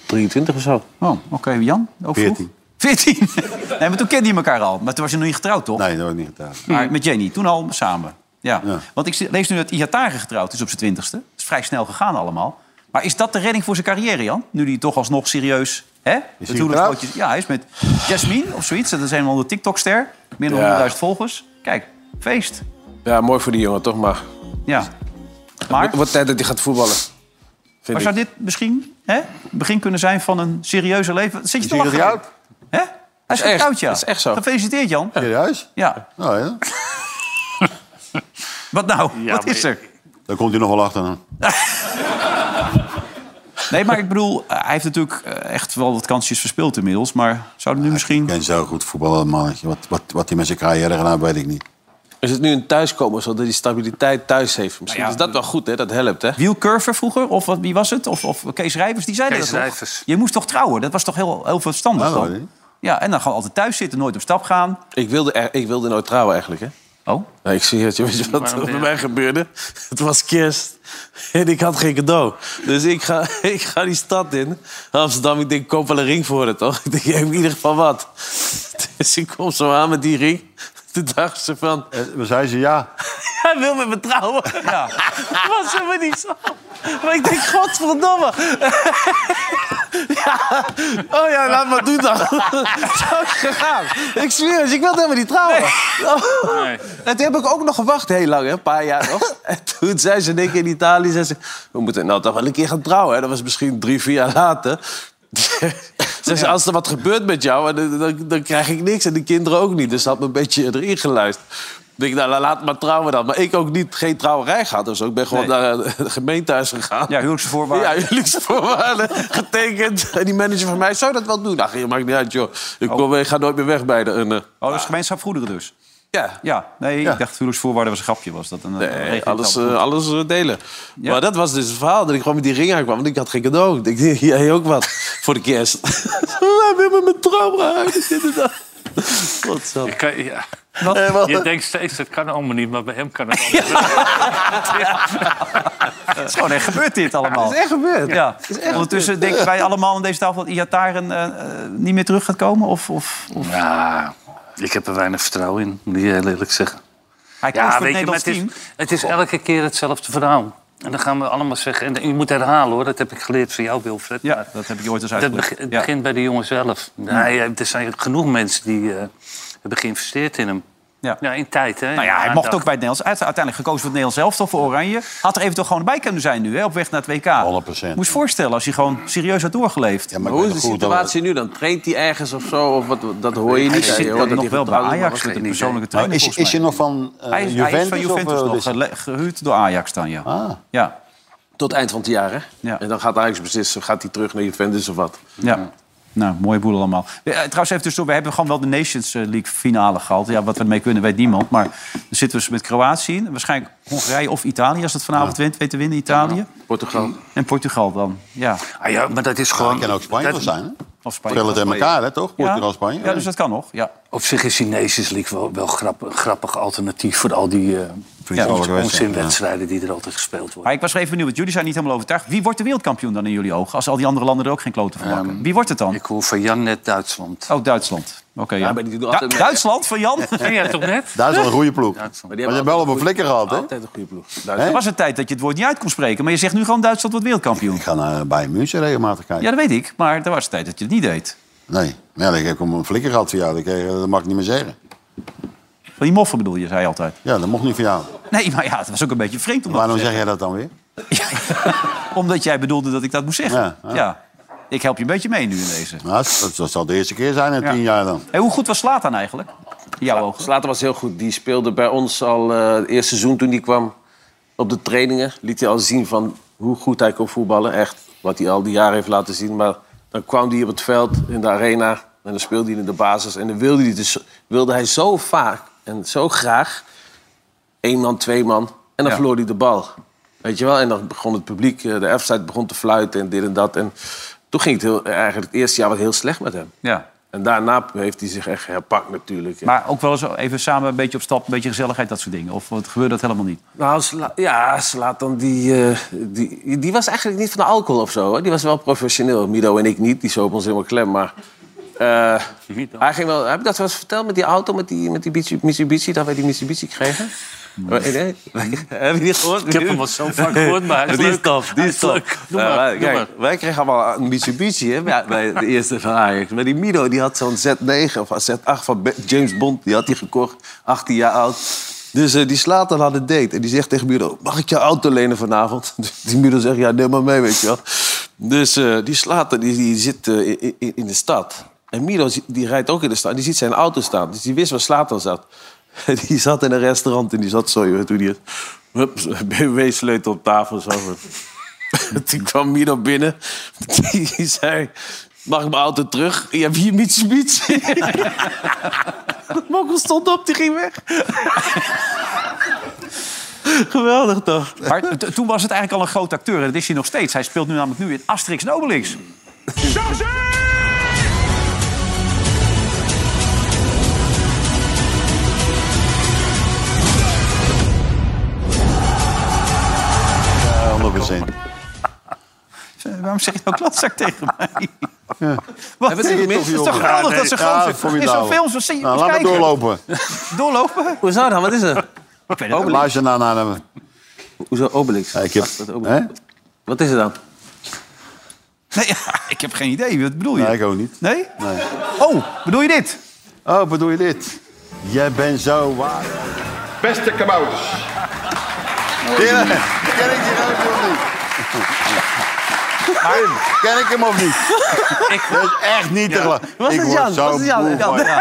23 of zo.
Oh, oké. Jan, ook vroeg? 14. nee, maar toen kende je elkaar al. Maar toen was je nog niet getrouwd, toch?
Nee, dat was niet getrouwd.
Maar
Hmm.
met Jenny, toen al samen. Ja. Want ik lees nu dat Iatare getrouwd is op zijn twintigste. Dat is vrij snel gegaan allemaal. Maar is dat de redding voor zijn carrière, Jan? Nu die toch alsnog serieus... Hè? Het
hij
huwelijksfotootje- Ja, hij is met Jasmine of zoiets. Dat is een of andere TikTok-ster. Meer dan
Ja.
100.000 volgers. Kijk, feest.
Ja, mooi voor die jongen, toch maar.
Ja. Maar?
Het wordt tijd dat hij gaat voetballen. Vind
Maar
ik.
zou dit misschien hè, het begin kunnen zijn van een serieuze leven? Zit je
Zie
toch
je dat
lachen? Hè? Hij is
echt.
getrouwd, ja.
Dat is echt zo.
Gefeliciteerd, Jan.
Serieus?
Ja.
Oh, ja.
Wat nou? Wat is er?
Daar komt hij nog wel achter.
Nee, maar ik bedoel, eh, hij heeft natuurlijk eh, echt wel wat kansjes verspeeld inmiddels. Maar zou er nu misschien...
eh,
En zo goed voetballen, mannetje. Wat, wat, wat hij met zijn carrière gedaan heeft, weet ik niet.
Is het nu een thuiskomen, zodat hij stabiliteit thuis heeft? Misschien
Nou
is dat wel goed, hè? Dat helpt, hè?
Wielcurver vroeger, of wat, wie was het? Of, of Kees Rijvers, die zeiden
Kees
dat
Rijvers.
toch? Je moest toch trouwen? Dat was toch heel, heel verstandig
Nou,
dan?
hè?
Ja, en dan gewoon altijd thuis zitten, nooit op stap gaan.
Ik wilde, er- ik wilde nooit trouwen eigenlijk, hè?
Oh?
Nou, ik zie het, je weet je wat
Waarom
er bij
ben je-
mij gebeurde? Het was kerst en ik had geen cadeau. Dus ik ga, ik ga die stad in, Amsterdam. Ik denk, ik koop wel een ring voor het, toch? Ik denk, ik heb in ieder geval wat. Dus ik kom zo aan met die ring. Toen dacht ze van...
Eh, We zei ze ja.
Hij wil met me trouwen.
Ja.
was helemaal niet zo. Maar ik denk, godverdomme. ja. Oh ja, laat maar doen dan. zo is het gegaan. Ik zweer het, je, ik wilde helemaal niet trouwen. Oh. En toen heb ik ook nog gewacht, heel lang, hè, een paar jaar nog. En toen zei ze in één keer in Italië, zei ze, we moeten nou toch wel een keer gaan trouwen. Hè. Dat was misschien drie, vier jaar later. Zei ze, als er wat gebeurt met jou, dan, dan, dan krijg ik niks. En de kinderen ook niet. Dus ze had me een beetje erin geluisterd. Ik denk, nou, laat maar trouwen dan. Maar ik ook niet, geen trouwerij gehad of zo. Ik ben gewoon
Nee.
naar eh, de gemeentehuis gegaan.
Ja, huwelijksvoorwaarden.
Ja, huwelijksvoorwaarden. getekend. En die manager van mij, zou dat wel doen? Ach, je maakt niet uit, joh. Ik, kom, ik ga nooit meer weg bij de... een, eh.
Oh, dat is gemeenschap goederen dus?
Ja.
Ja, nee, ik dacht huwelijksvoorwaarden was een grapje. Was dat een, een Oh,
Nee,
regeling-
alles, eh, alles eh, delen. Maar dat was dus het verhaal, dat ik gewoon met die ring aankwam. Want ik had geen cadeau. Ik dacht, jij ook wat voor de kerst. Wij hebben mijn trauma uit. dit en dat. Wat zo.
Ik kan, ja.
Wat? Eh, wat?
Je denkt steeds, dat kan allemaal niet, maar bij hem kan het allemaal.
Het is gewoon echt gebeurd dit allemaal.
Het eh, is echt gebeurd.
Ja.
Het is echt
Ondertussen
gebeurd.
denken wij allemaal aan deze tafel dat Iatar niet meer terug gaat komen? Of, of, of...
Ja, ik heb er weinig vertrouwen in, moet ik je heel eerlijk zeggen.
Hij koos voor het
maar
Nederlands
het, is,
team.
het is elke keer hetzelfde verhaal. En dan gaan we allemaal zeggen... En je moet herhalen, hoor. Dat heb ik geleerd van jou, Wilfred.
Ja,
maar
dat heb ik je ooit eens
dat
uitgelegd.
beg- het
Ja.
begint bij de jongen zelf. Nee, eh, er zijn genoeg mensen die eh, hebben geïnvesteerd in hem.
Ja.
in tijd, hè.
Nou ja, hij mocht
Aandacht.
ook bij het Nederlands. uit- Uiteindelijk gekozen voor het Nederlands zelf, toch voor Oranje. Had er eventueel gewoon bij kunnen zijn nu, hè, op weg naar het WK. 100 Moest voorstellen als hij gewoon serieus had doorgeleefd. Ja,
Maar hoe is de situatie nu dan? Traint hij ergens of zo? Of wat, dat hoor je
Hij
niet.
zit
Je
dan
hoort dat
nog
hij
wel bij
getrouwd is, maar dat
Ajax met
geen
een
idee.
persoonlijke trainer.
Nou, is,
volgens
is je
mij.
nog van eh,
hij, is, hij is van
Juventus? of, Ah.
Juventus
eh,
nog
dit-
gele- gehuurd door Ajax dan, ja. ja.
Tot eind van het jaar, hè?
Ja.
En dan gaat Ajax beslissen, gaat hij terug naar Juventus of wat?
Ja. Nou, mooie boel allemaal. Eh, Trouwens, even tussendoor, we hebben gewoon wel de Nations eh, League finale gehad. Ja, wat we ermee kunnen, weet niemand. Maar dan zitten we dus met Kroatië in. Waarschijnlijk Hongarije of Italië, als het vanavond wint, weet te winnen, Italië.
Portugal.
En Portugal dan, ja.
Ah ja, maar dat is gewoon...
kan ook Spanje wel zijn, hè?
Of Spanje.
Vertel het in elkaar, hè, toch? Portugal,
Ja.
Spanje.
Ja, dus dat kan nog, ja.
Op zich is die Nations League wel, wel grap- een grappig alternatief... voor al die eh
Ja,
ons-
ja.
onzinwedstrijden die er altijd gespeeld worden.
Maar ik was even benieuwd, jullie zijn niet helemaal overtuigd. Wie wordt de wereldkampioen dan in jullie ogen? Als al die andere landen er ook geen kloten van bakken. Wie wordt het dan? Ik
hoor van Jan net Duitsland.
Oh, Duitsland. Oké, ja.
maar die doen
Du-
altijd mee, hè?
Duitsland van Jan?
Ken jij toch net?
Daar is wel een goede ploeg.
Maar
die hebben wel op een flikker gehad, hè?
Altijd een goede ploeg.
Er was een tijd dat je het woord niet uit kon spreken. Maar je zegt nu gewoon Duitsland wordt wereldkampioen.
Ik ga naar eh, Bayern München regelmatig kijken.
Ja, dat weet ik. Maar er was een tijd dat je het niet deed.
Nee, maar ja, ik heb hem een flikker gehad voor jou. Dat kreeg- Dat mag ik niet meer zeggen.
Van die moffen bedoel je, zei je altijd.
Ja, dat mocht niet voor jou.
Nee, maar ja, het was ook een beetje vreemd om dat
Waarom
te
zeg
zeggen.
jij dat dan weer?
Omdat jij bedoelde dat ik dat moest zeggen. Ja,
Ja, ja.
Ik help je een beetje mee nu in deze.
Nou, dat, dat zal de eerste keer zijn in tien jaar dan.
Hey, hoe goed was Slatan eigenlijk? Jouw ogen.
Slater was heel goed. Die speelde bij ons al eh, het eerste seizoen toen hij kwam op de trainingen. Liet hij al zien van hoe goed hij kon voetballen. Echt wat hij al die jaren heeft laten zien. Maar dan kwam hij op het veld in de arena en dan speelde hij in de basis. En dan wilde hij, dus, wilde hij zo vaak En zo graag één man, twee man. En dan verloor hij de bal. Weet je wel? En dan begon het publiek, eh, de F-side begon te fluiten en dit en dat. En toen ging het heel, eigenlijk het eerste jaar wat heel slecht met hem.
Ja.
En daarna heeft hij zich echt herpakt natuurlijk.
Maar ook wel eens even samen een beetje op stap, een beetje gezelligheid, dat soort dingen. Of wat gebeurde dat helemaal niet?
Nou, Sla- ja, Slatan, die, eh, die, die was eigenlijk niet van de alcohol of zo. Hoor. Die was wel professioneel. Mido en ik niet, die zopen ons helemaal klem. Maar eh, hij ging wel... Heb ik dat wel eens verteld met die auto, met die, met die Mitsu- Mitsubishi? Dat wij die Mitsubishi kregen? Eh, nee? Heb je niet gehoord?
Ik heb hem al zo vaak gehoord, maar hij is
Die
leuk.
tof, Die
Hij
is
is
tof.
leuk. Doe maar,
Eh, wij-
doe
kijk,
maar.
Wij kregen allemaal een Mitsubishi hè, bij- bij de eerste van Ajax. Maar die Mido die had zo'n Z9 of Z8 van Be- James Bond. Die had hij gekocht, 18 jaar oud. Dus eh, die slaat dan aan de date. En die zegt tegen Mido, mag ik jouw auto lenen vanavond? Dus Die Mido zegt, ja, neem maar mee, weet je wel. Dus eh, die slaat die, die zit eh, in, in- in de stad. En Mido zi- die rijdt ook in de stad. Die ziet zijn auto staan. Dus die wist waar Slatan zat. Die zat in een restaurant en die zat zo, je weet hoe die is. Hup, BMW-sleutel op tafel. Zo. Toen kwam Mino binnen. Die zei, mag ik mijn auto terug? Je hebt hier Mitsubishi. Mokkel stond op, die ging weg. Geweldig toch?
Maar t- toen was het eigenlijk al een groot acteur. En dat is hij nog steeds. Hij speelt nu namelijk nu in Asterix en Obelix.
Ja, 100%.
Eh, Waarom zeg je nou klatzak tegen mij? Wat
Hebben ze
is
gemist,
het is
joh?
toch
Ja,
geweldig
nee.
dat ze
Ja,
groot zijn? In zo'n
formidabel.
film, zo zie je
Nou,
moet
laat me
kijken.
doorlopen.
Doorlopen?
Hoezo nou? Wat is er?
Obelix. Luister nou naar hem.
Hoezo Obelix?
ik heb... Hè?
Wat is er dan?
Nee, ik heb geen idee. Wat bedoel je?
Nee, ik ook niet.
Nee?
Nee.
Oh, bedoel je dit?
Oh, bedoel je dit? Jij bent zo waar.
Beste kabouters.
Ja, ken ik die rood of niet? Ken ik hem of niet? Dat is echt niet te geloven.
Was
Ik
het
word
Jan?
zo
Was het Jan?
moe
Jan,
van-
ja.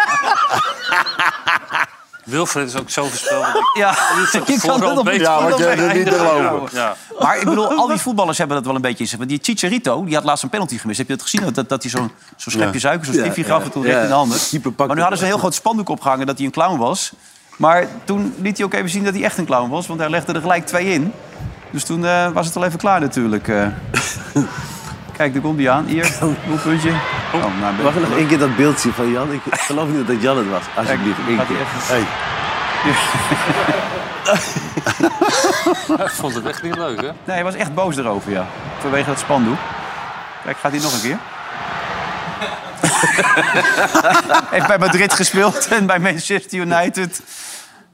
Wilfred is ook zo voorspeld.
Ja,
je kan het op
Ja, want jij doet niet te geloven.
Ja.
Maar ik bedoel, al die voetballers hebben dat wel een beetje in zich. Want die Chicharito, die had laatst een penalty gemist. Heb je dat gezien? Dat, dat hij zo'n zo'n schepje
Ja.
suiker, zo'n
Ja,
stiefje
ja,
gaf en toen
ja.
recht in de handen.
Keeper
Maar
pakt
nu
het.
hadden ze een heel groot spandoek opgehangen dat hij een clown was. Maar toen liet hij ook even zien dat hij echt een clown was. Want hij legde er gelijk twee in. Dus toen eh, was het al even klaar natuurlijk. eh. Kijk, daar komt hij aan. Hier, doelpuntje. Oh, nou, een beetje
Mag ik nog
geluk.
één keer dat beeld zien van Jan? Ik geloof niet dat Jan het was. Alsjeblieft,
Kijk,
één
gaat
keer.
hij
Hey.
Ik vond het echt niet leuk, hè?
Nee, hij was echt boos erover, ja. Vanwege dat spandoek. Kijk, gaat hij nog een keer. Heeft bij Madrid gespeeld en bij Manchester United.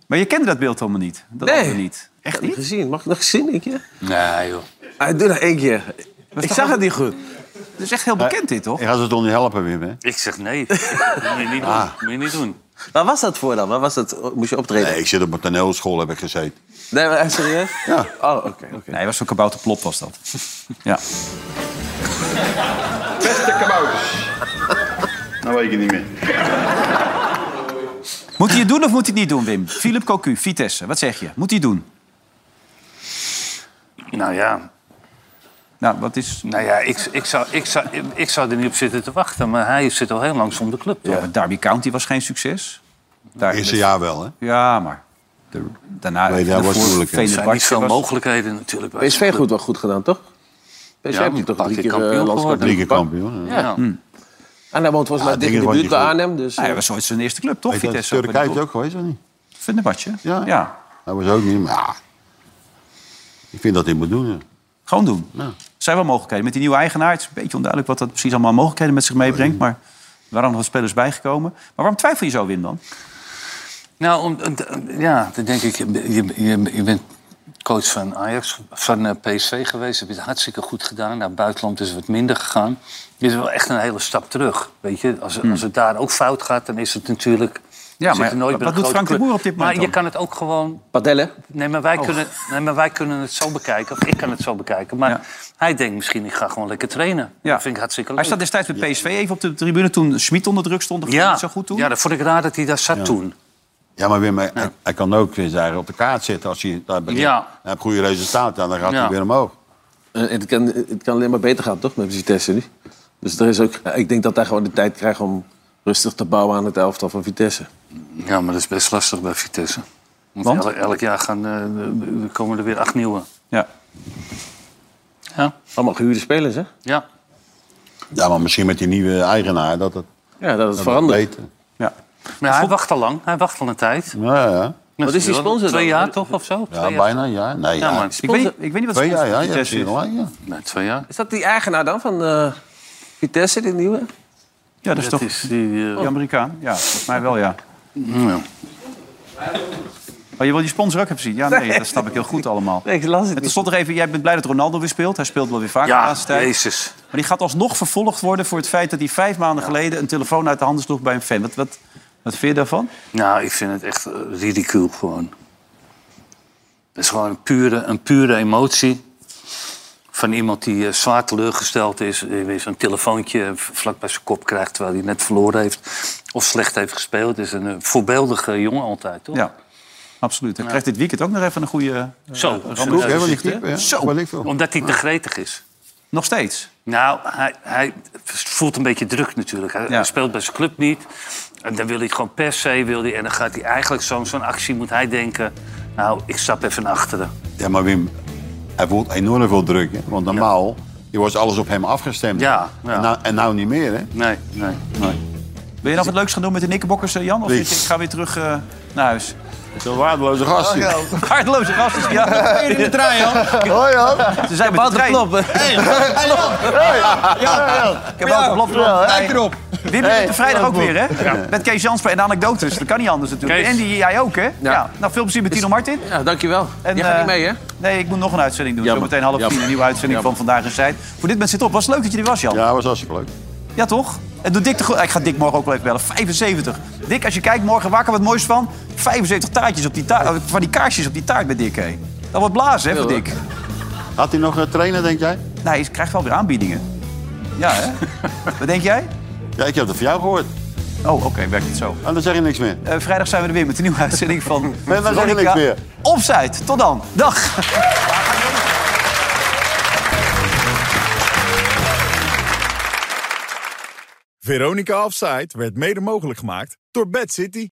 Maar je kende dat beeld helemaal niet. Dat
Nee.
andere niet. Echt
Heb
niet?
je gezien? Mag ik nog zien, één keer?
Nee, joh.
Ah, doe nog één keer. Ik
toch
zag
wel-
het niet goed.
Het is echt heel bekend dit, toch?
Ik ga ze toch niet helpen, Wim, hè?
Ik zeg nee. Dat moet je niet doen.
Ah.
Moet je niet doen.
Waar was dat voor dan? Waar was dat? Moest je optreden?
Nee, ik zit op een toneelschool, heb ik gezeten.
Nee, maar echt serieus?
Ja.
Oh, oké.
Nee, hij was zo'n kabouterplop was dat. Ja.
Beste kabouters.
Nou weet ik het niet meer.
Moet hij het doen of moet hij het niet doen, Wim? Philip Cocu, Vitesse. Wat zeg je? Moet hij het doen?
Nou ja,
Nou, wat is...
nou ja ik, ik, zou, ik, zou, ik zou er niet op zitten te wachten. Maar hij zit al heel lang zonder club, toch?
Ja, maar Derby Oh, County was geen succes. Daar
Eerste jaar wel, hè?
Ja, maar... de- Daarna...
Nee, daar
de
was
voor-
het moeilijk, hè?
Er zijn niet
Fenerbahce
veel
was-
mogelijkheden natuurlijk. bij
PSV
zo'n
goed wel goed gedaan, toch? PSV
Ja,
heeft nu
een
toch
paar
drie
keer
keer eh, Ah,
kampioen
landskampioen
Drie keer
gepakt?
kampioen.
club.
ja.
Ja.
En hij woont volgens mij
Ja,
dik
dingen
in de
was
buurt bij
niet goed.
Arnhem. Dus,
Nou,
eh,
hij was ooit zijn eerste club, toch?
Weet je, dat is
Vitesse.
Turkije is ook geweest, of niet?
Fenerbahce?
Ja.
ja.
Dat was ook niet, maar ja. Ik vind dat hij moet doen, ja.
Gewoon doen.
Ja.
Er zijn wel mogelijkheden. Met die nieuwe eigenaar het is een beetje onduidelijk wat dat precies allemaal aan mogelijkheden met zich meebrengt. Maar waarom nog wat spelers bijgekomen? Maar waarom twijfel je zo, Wim, dan?
Nou, om, om- om- ja, dan denk ik, je, je, je bent coach van Ajax, van eh, PSV geweest. Heb je het hartstikke goed gedaan. Naar het buitenland is het wat minder gegaan. Dit is wel echt een hele stap terug. Weet je, als, als het daar ook fout gaat, dan is het natuurlijk...
Hmm. Ja,
zit
maar
je nooit bij
wat
een
doet
grote
Frank de
club.
Boer op dit moment
Maar je
dan? Oh.
kan het ook gewoon...
Padelle?
Nee maar, wij kunnen, nee, maar wij kunnen het zo bekijken. Of ik kan het zo bekijken. Maar hij denkt misschien, ik ga gewoon lekker trainen.
Ja.
Dat vind ik hartstikke leuk.
Hij staat destijds met PSV even op de tribune toen Schmid onder druk stond. Dat ging niet zo goed toen.
ja, dat vond ik raar dat hij daar zat toen.
Ja, maar Wim, hij, hij kan ook eens daar op de kaart zitten als hij daar begint.
Ja.
Hij heeft goede resultaten en dan gaat
Ja.
hij weer omhoog.
eh, het, kan, het kan alleen maar beter gaan, toch? Met Vitesse nu. Dus er is ook, ik denk dat hij gewoon de tijd krijgt om rustig te bouwen aan het elftal van Vitesse.
Ja, maar dat is best lastig bij Vitesse. Want, el- elk jaar gaan, eh, eh, er komen er weer acht nieuwe.
Ja.
ja.
Allemaal gehuurde spelers, hè?
Ja.
Ja, maar misschien met die nieuwe eigenaar dat het,
Ja, dat
dat
het verandert.
beter.
Ja.
Maar hij wacht al lang. Hij wacht al een tijd.
Ja, ja.
Wat is die sponsor Twee
dan?
jaar toch, of zo?
Ja, bijna een jaar. Nee, ja,
maar
ik, weet, niet-
ik weet niet wat
Twee jaar, ja, je hebt
Vitesse
hier
is.
gelijk, ja.
Nee, twee jaar.
Is dat die eigenaar dan van eh, Vitesse, dit nieuwe?
Ja, dat is toch
die, eh,
die Amerikaan? Ja, volgens mij wel, ja. Oh, je wil die sponsor ook hebben zien? Ja, nee,
Nee.
dat snap ik heel goed allemaal.
Nee, ik las het
en stond nog even, jij bent blij dat Ronaldo weer speelt. Hij speelt wel weer vaak
Ja,
de laatste tijd.
Jezus.
Maar die gaat alsnog vervolgd worden voor het feit dat hij vijf maanden geleden... een telefoon uit de handen sloeg bij een fan. Wat, wat, wat vind je daarvan?
Nou, ik vind het echt eh, ridicuul gewoon. Het is gewoon een pure, een pure emotie. Van iemand die eh, zwaar teleurgesteld is. eh, Weer zo'n telefoontje v- vlak bij zijn kop krijgt terwijl hij net verloren heeft. Of slecht heeft gespeeld. Het is een eh, voorbeeldige jongen altijd, toch?
Ja, absoluut. Hij krijgt dit weekend ook nog even een goede... eh,
Zo.
ramp-
zo-
ramp-
Zo. Omdat hij te gretig is.
Nog steeds?
Nou, hij, hij voelt een beetje druk natuurlijk. Hij, hij speelt bij zijn club niet. En dan wil hij gewoon per se... Wil hij, en dan gaat hij eigenlijk zo'n zo'n actie... moet hij denken... Nou, ik stap even naar achteren.
Ja, maar Wim, hij voelt enorm veel druk. Hè? Want normaal je was alles op hem afgestemd.
Ja, ja.
En, nou, en nou niet meer, hè?
Nee, nee.
Wil je nog wat leuks gaan doen met de Nikkebokkers, eh, Jan? Of
Nee.
zit je- ik ga weer terug eh, naar huis?
Zo'n waardeloze
gasten.
Ja,
Waardeloze gasten, ja. Dat ben je in de trein, Jan.
Hoi, Jan.
Ze zijn met de trein.
Hey,
Ik heb ook een blad
Ja, hè?
Kijk erop. Wim
Hey.
is de vrijdag ook weer, hè?
Ja.
Met Kees Jansper en de anekdotes. Dat kan niet anders natuurlijk.
Kees.
En die jij ook, hè? Ja. Nou, veel plezier met Tino Martin.
Ja, dankjewel.
En,
Jij gaat niet
eh,
mee, hè?
Nee, ik moet nog een uitzending doen.
Jammer.
Zometeen half tien,
Jammer.
een nieuwe uitzending van Vandaag in Zijd. Voor dit moment zit op. Was het leuk dat je er was, Jan?
Ja, was hartstikke leuk.
Ja, toch? En doe Dick de Groot. Ik ga Dick morgen ook wel even bellen. 75. Dick, als je kijkt, morgen wakker wat moois van. 75 taartjes op die taart. eh, Van die kaarsjes op die taart bij Dick, hé. Dat wordt blazen, hè, voor Dick.
Had hij nog eh, trainen, denk jij?
Nee, hij krijgt wel weer aanbiedingen. Ja, hè? Wat denk jij?
Ja, ik heb dat van jou gehoord.
Oh, oké, werkt het zo.
En dan zeg je niks meer.
Eh, vrijdag zijn we er weer met een nieuwe uitzending van
dan zeg ik
Veronica
niks meer.
Offside. Tot dan. Dag.
Veronica Offside werd mede mogelijk gemaakt door Bad City.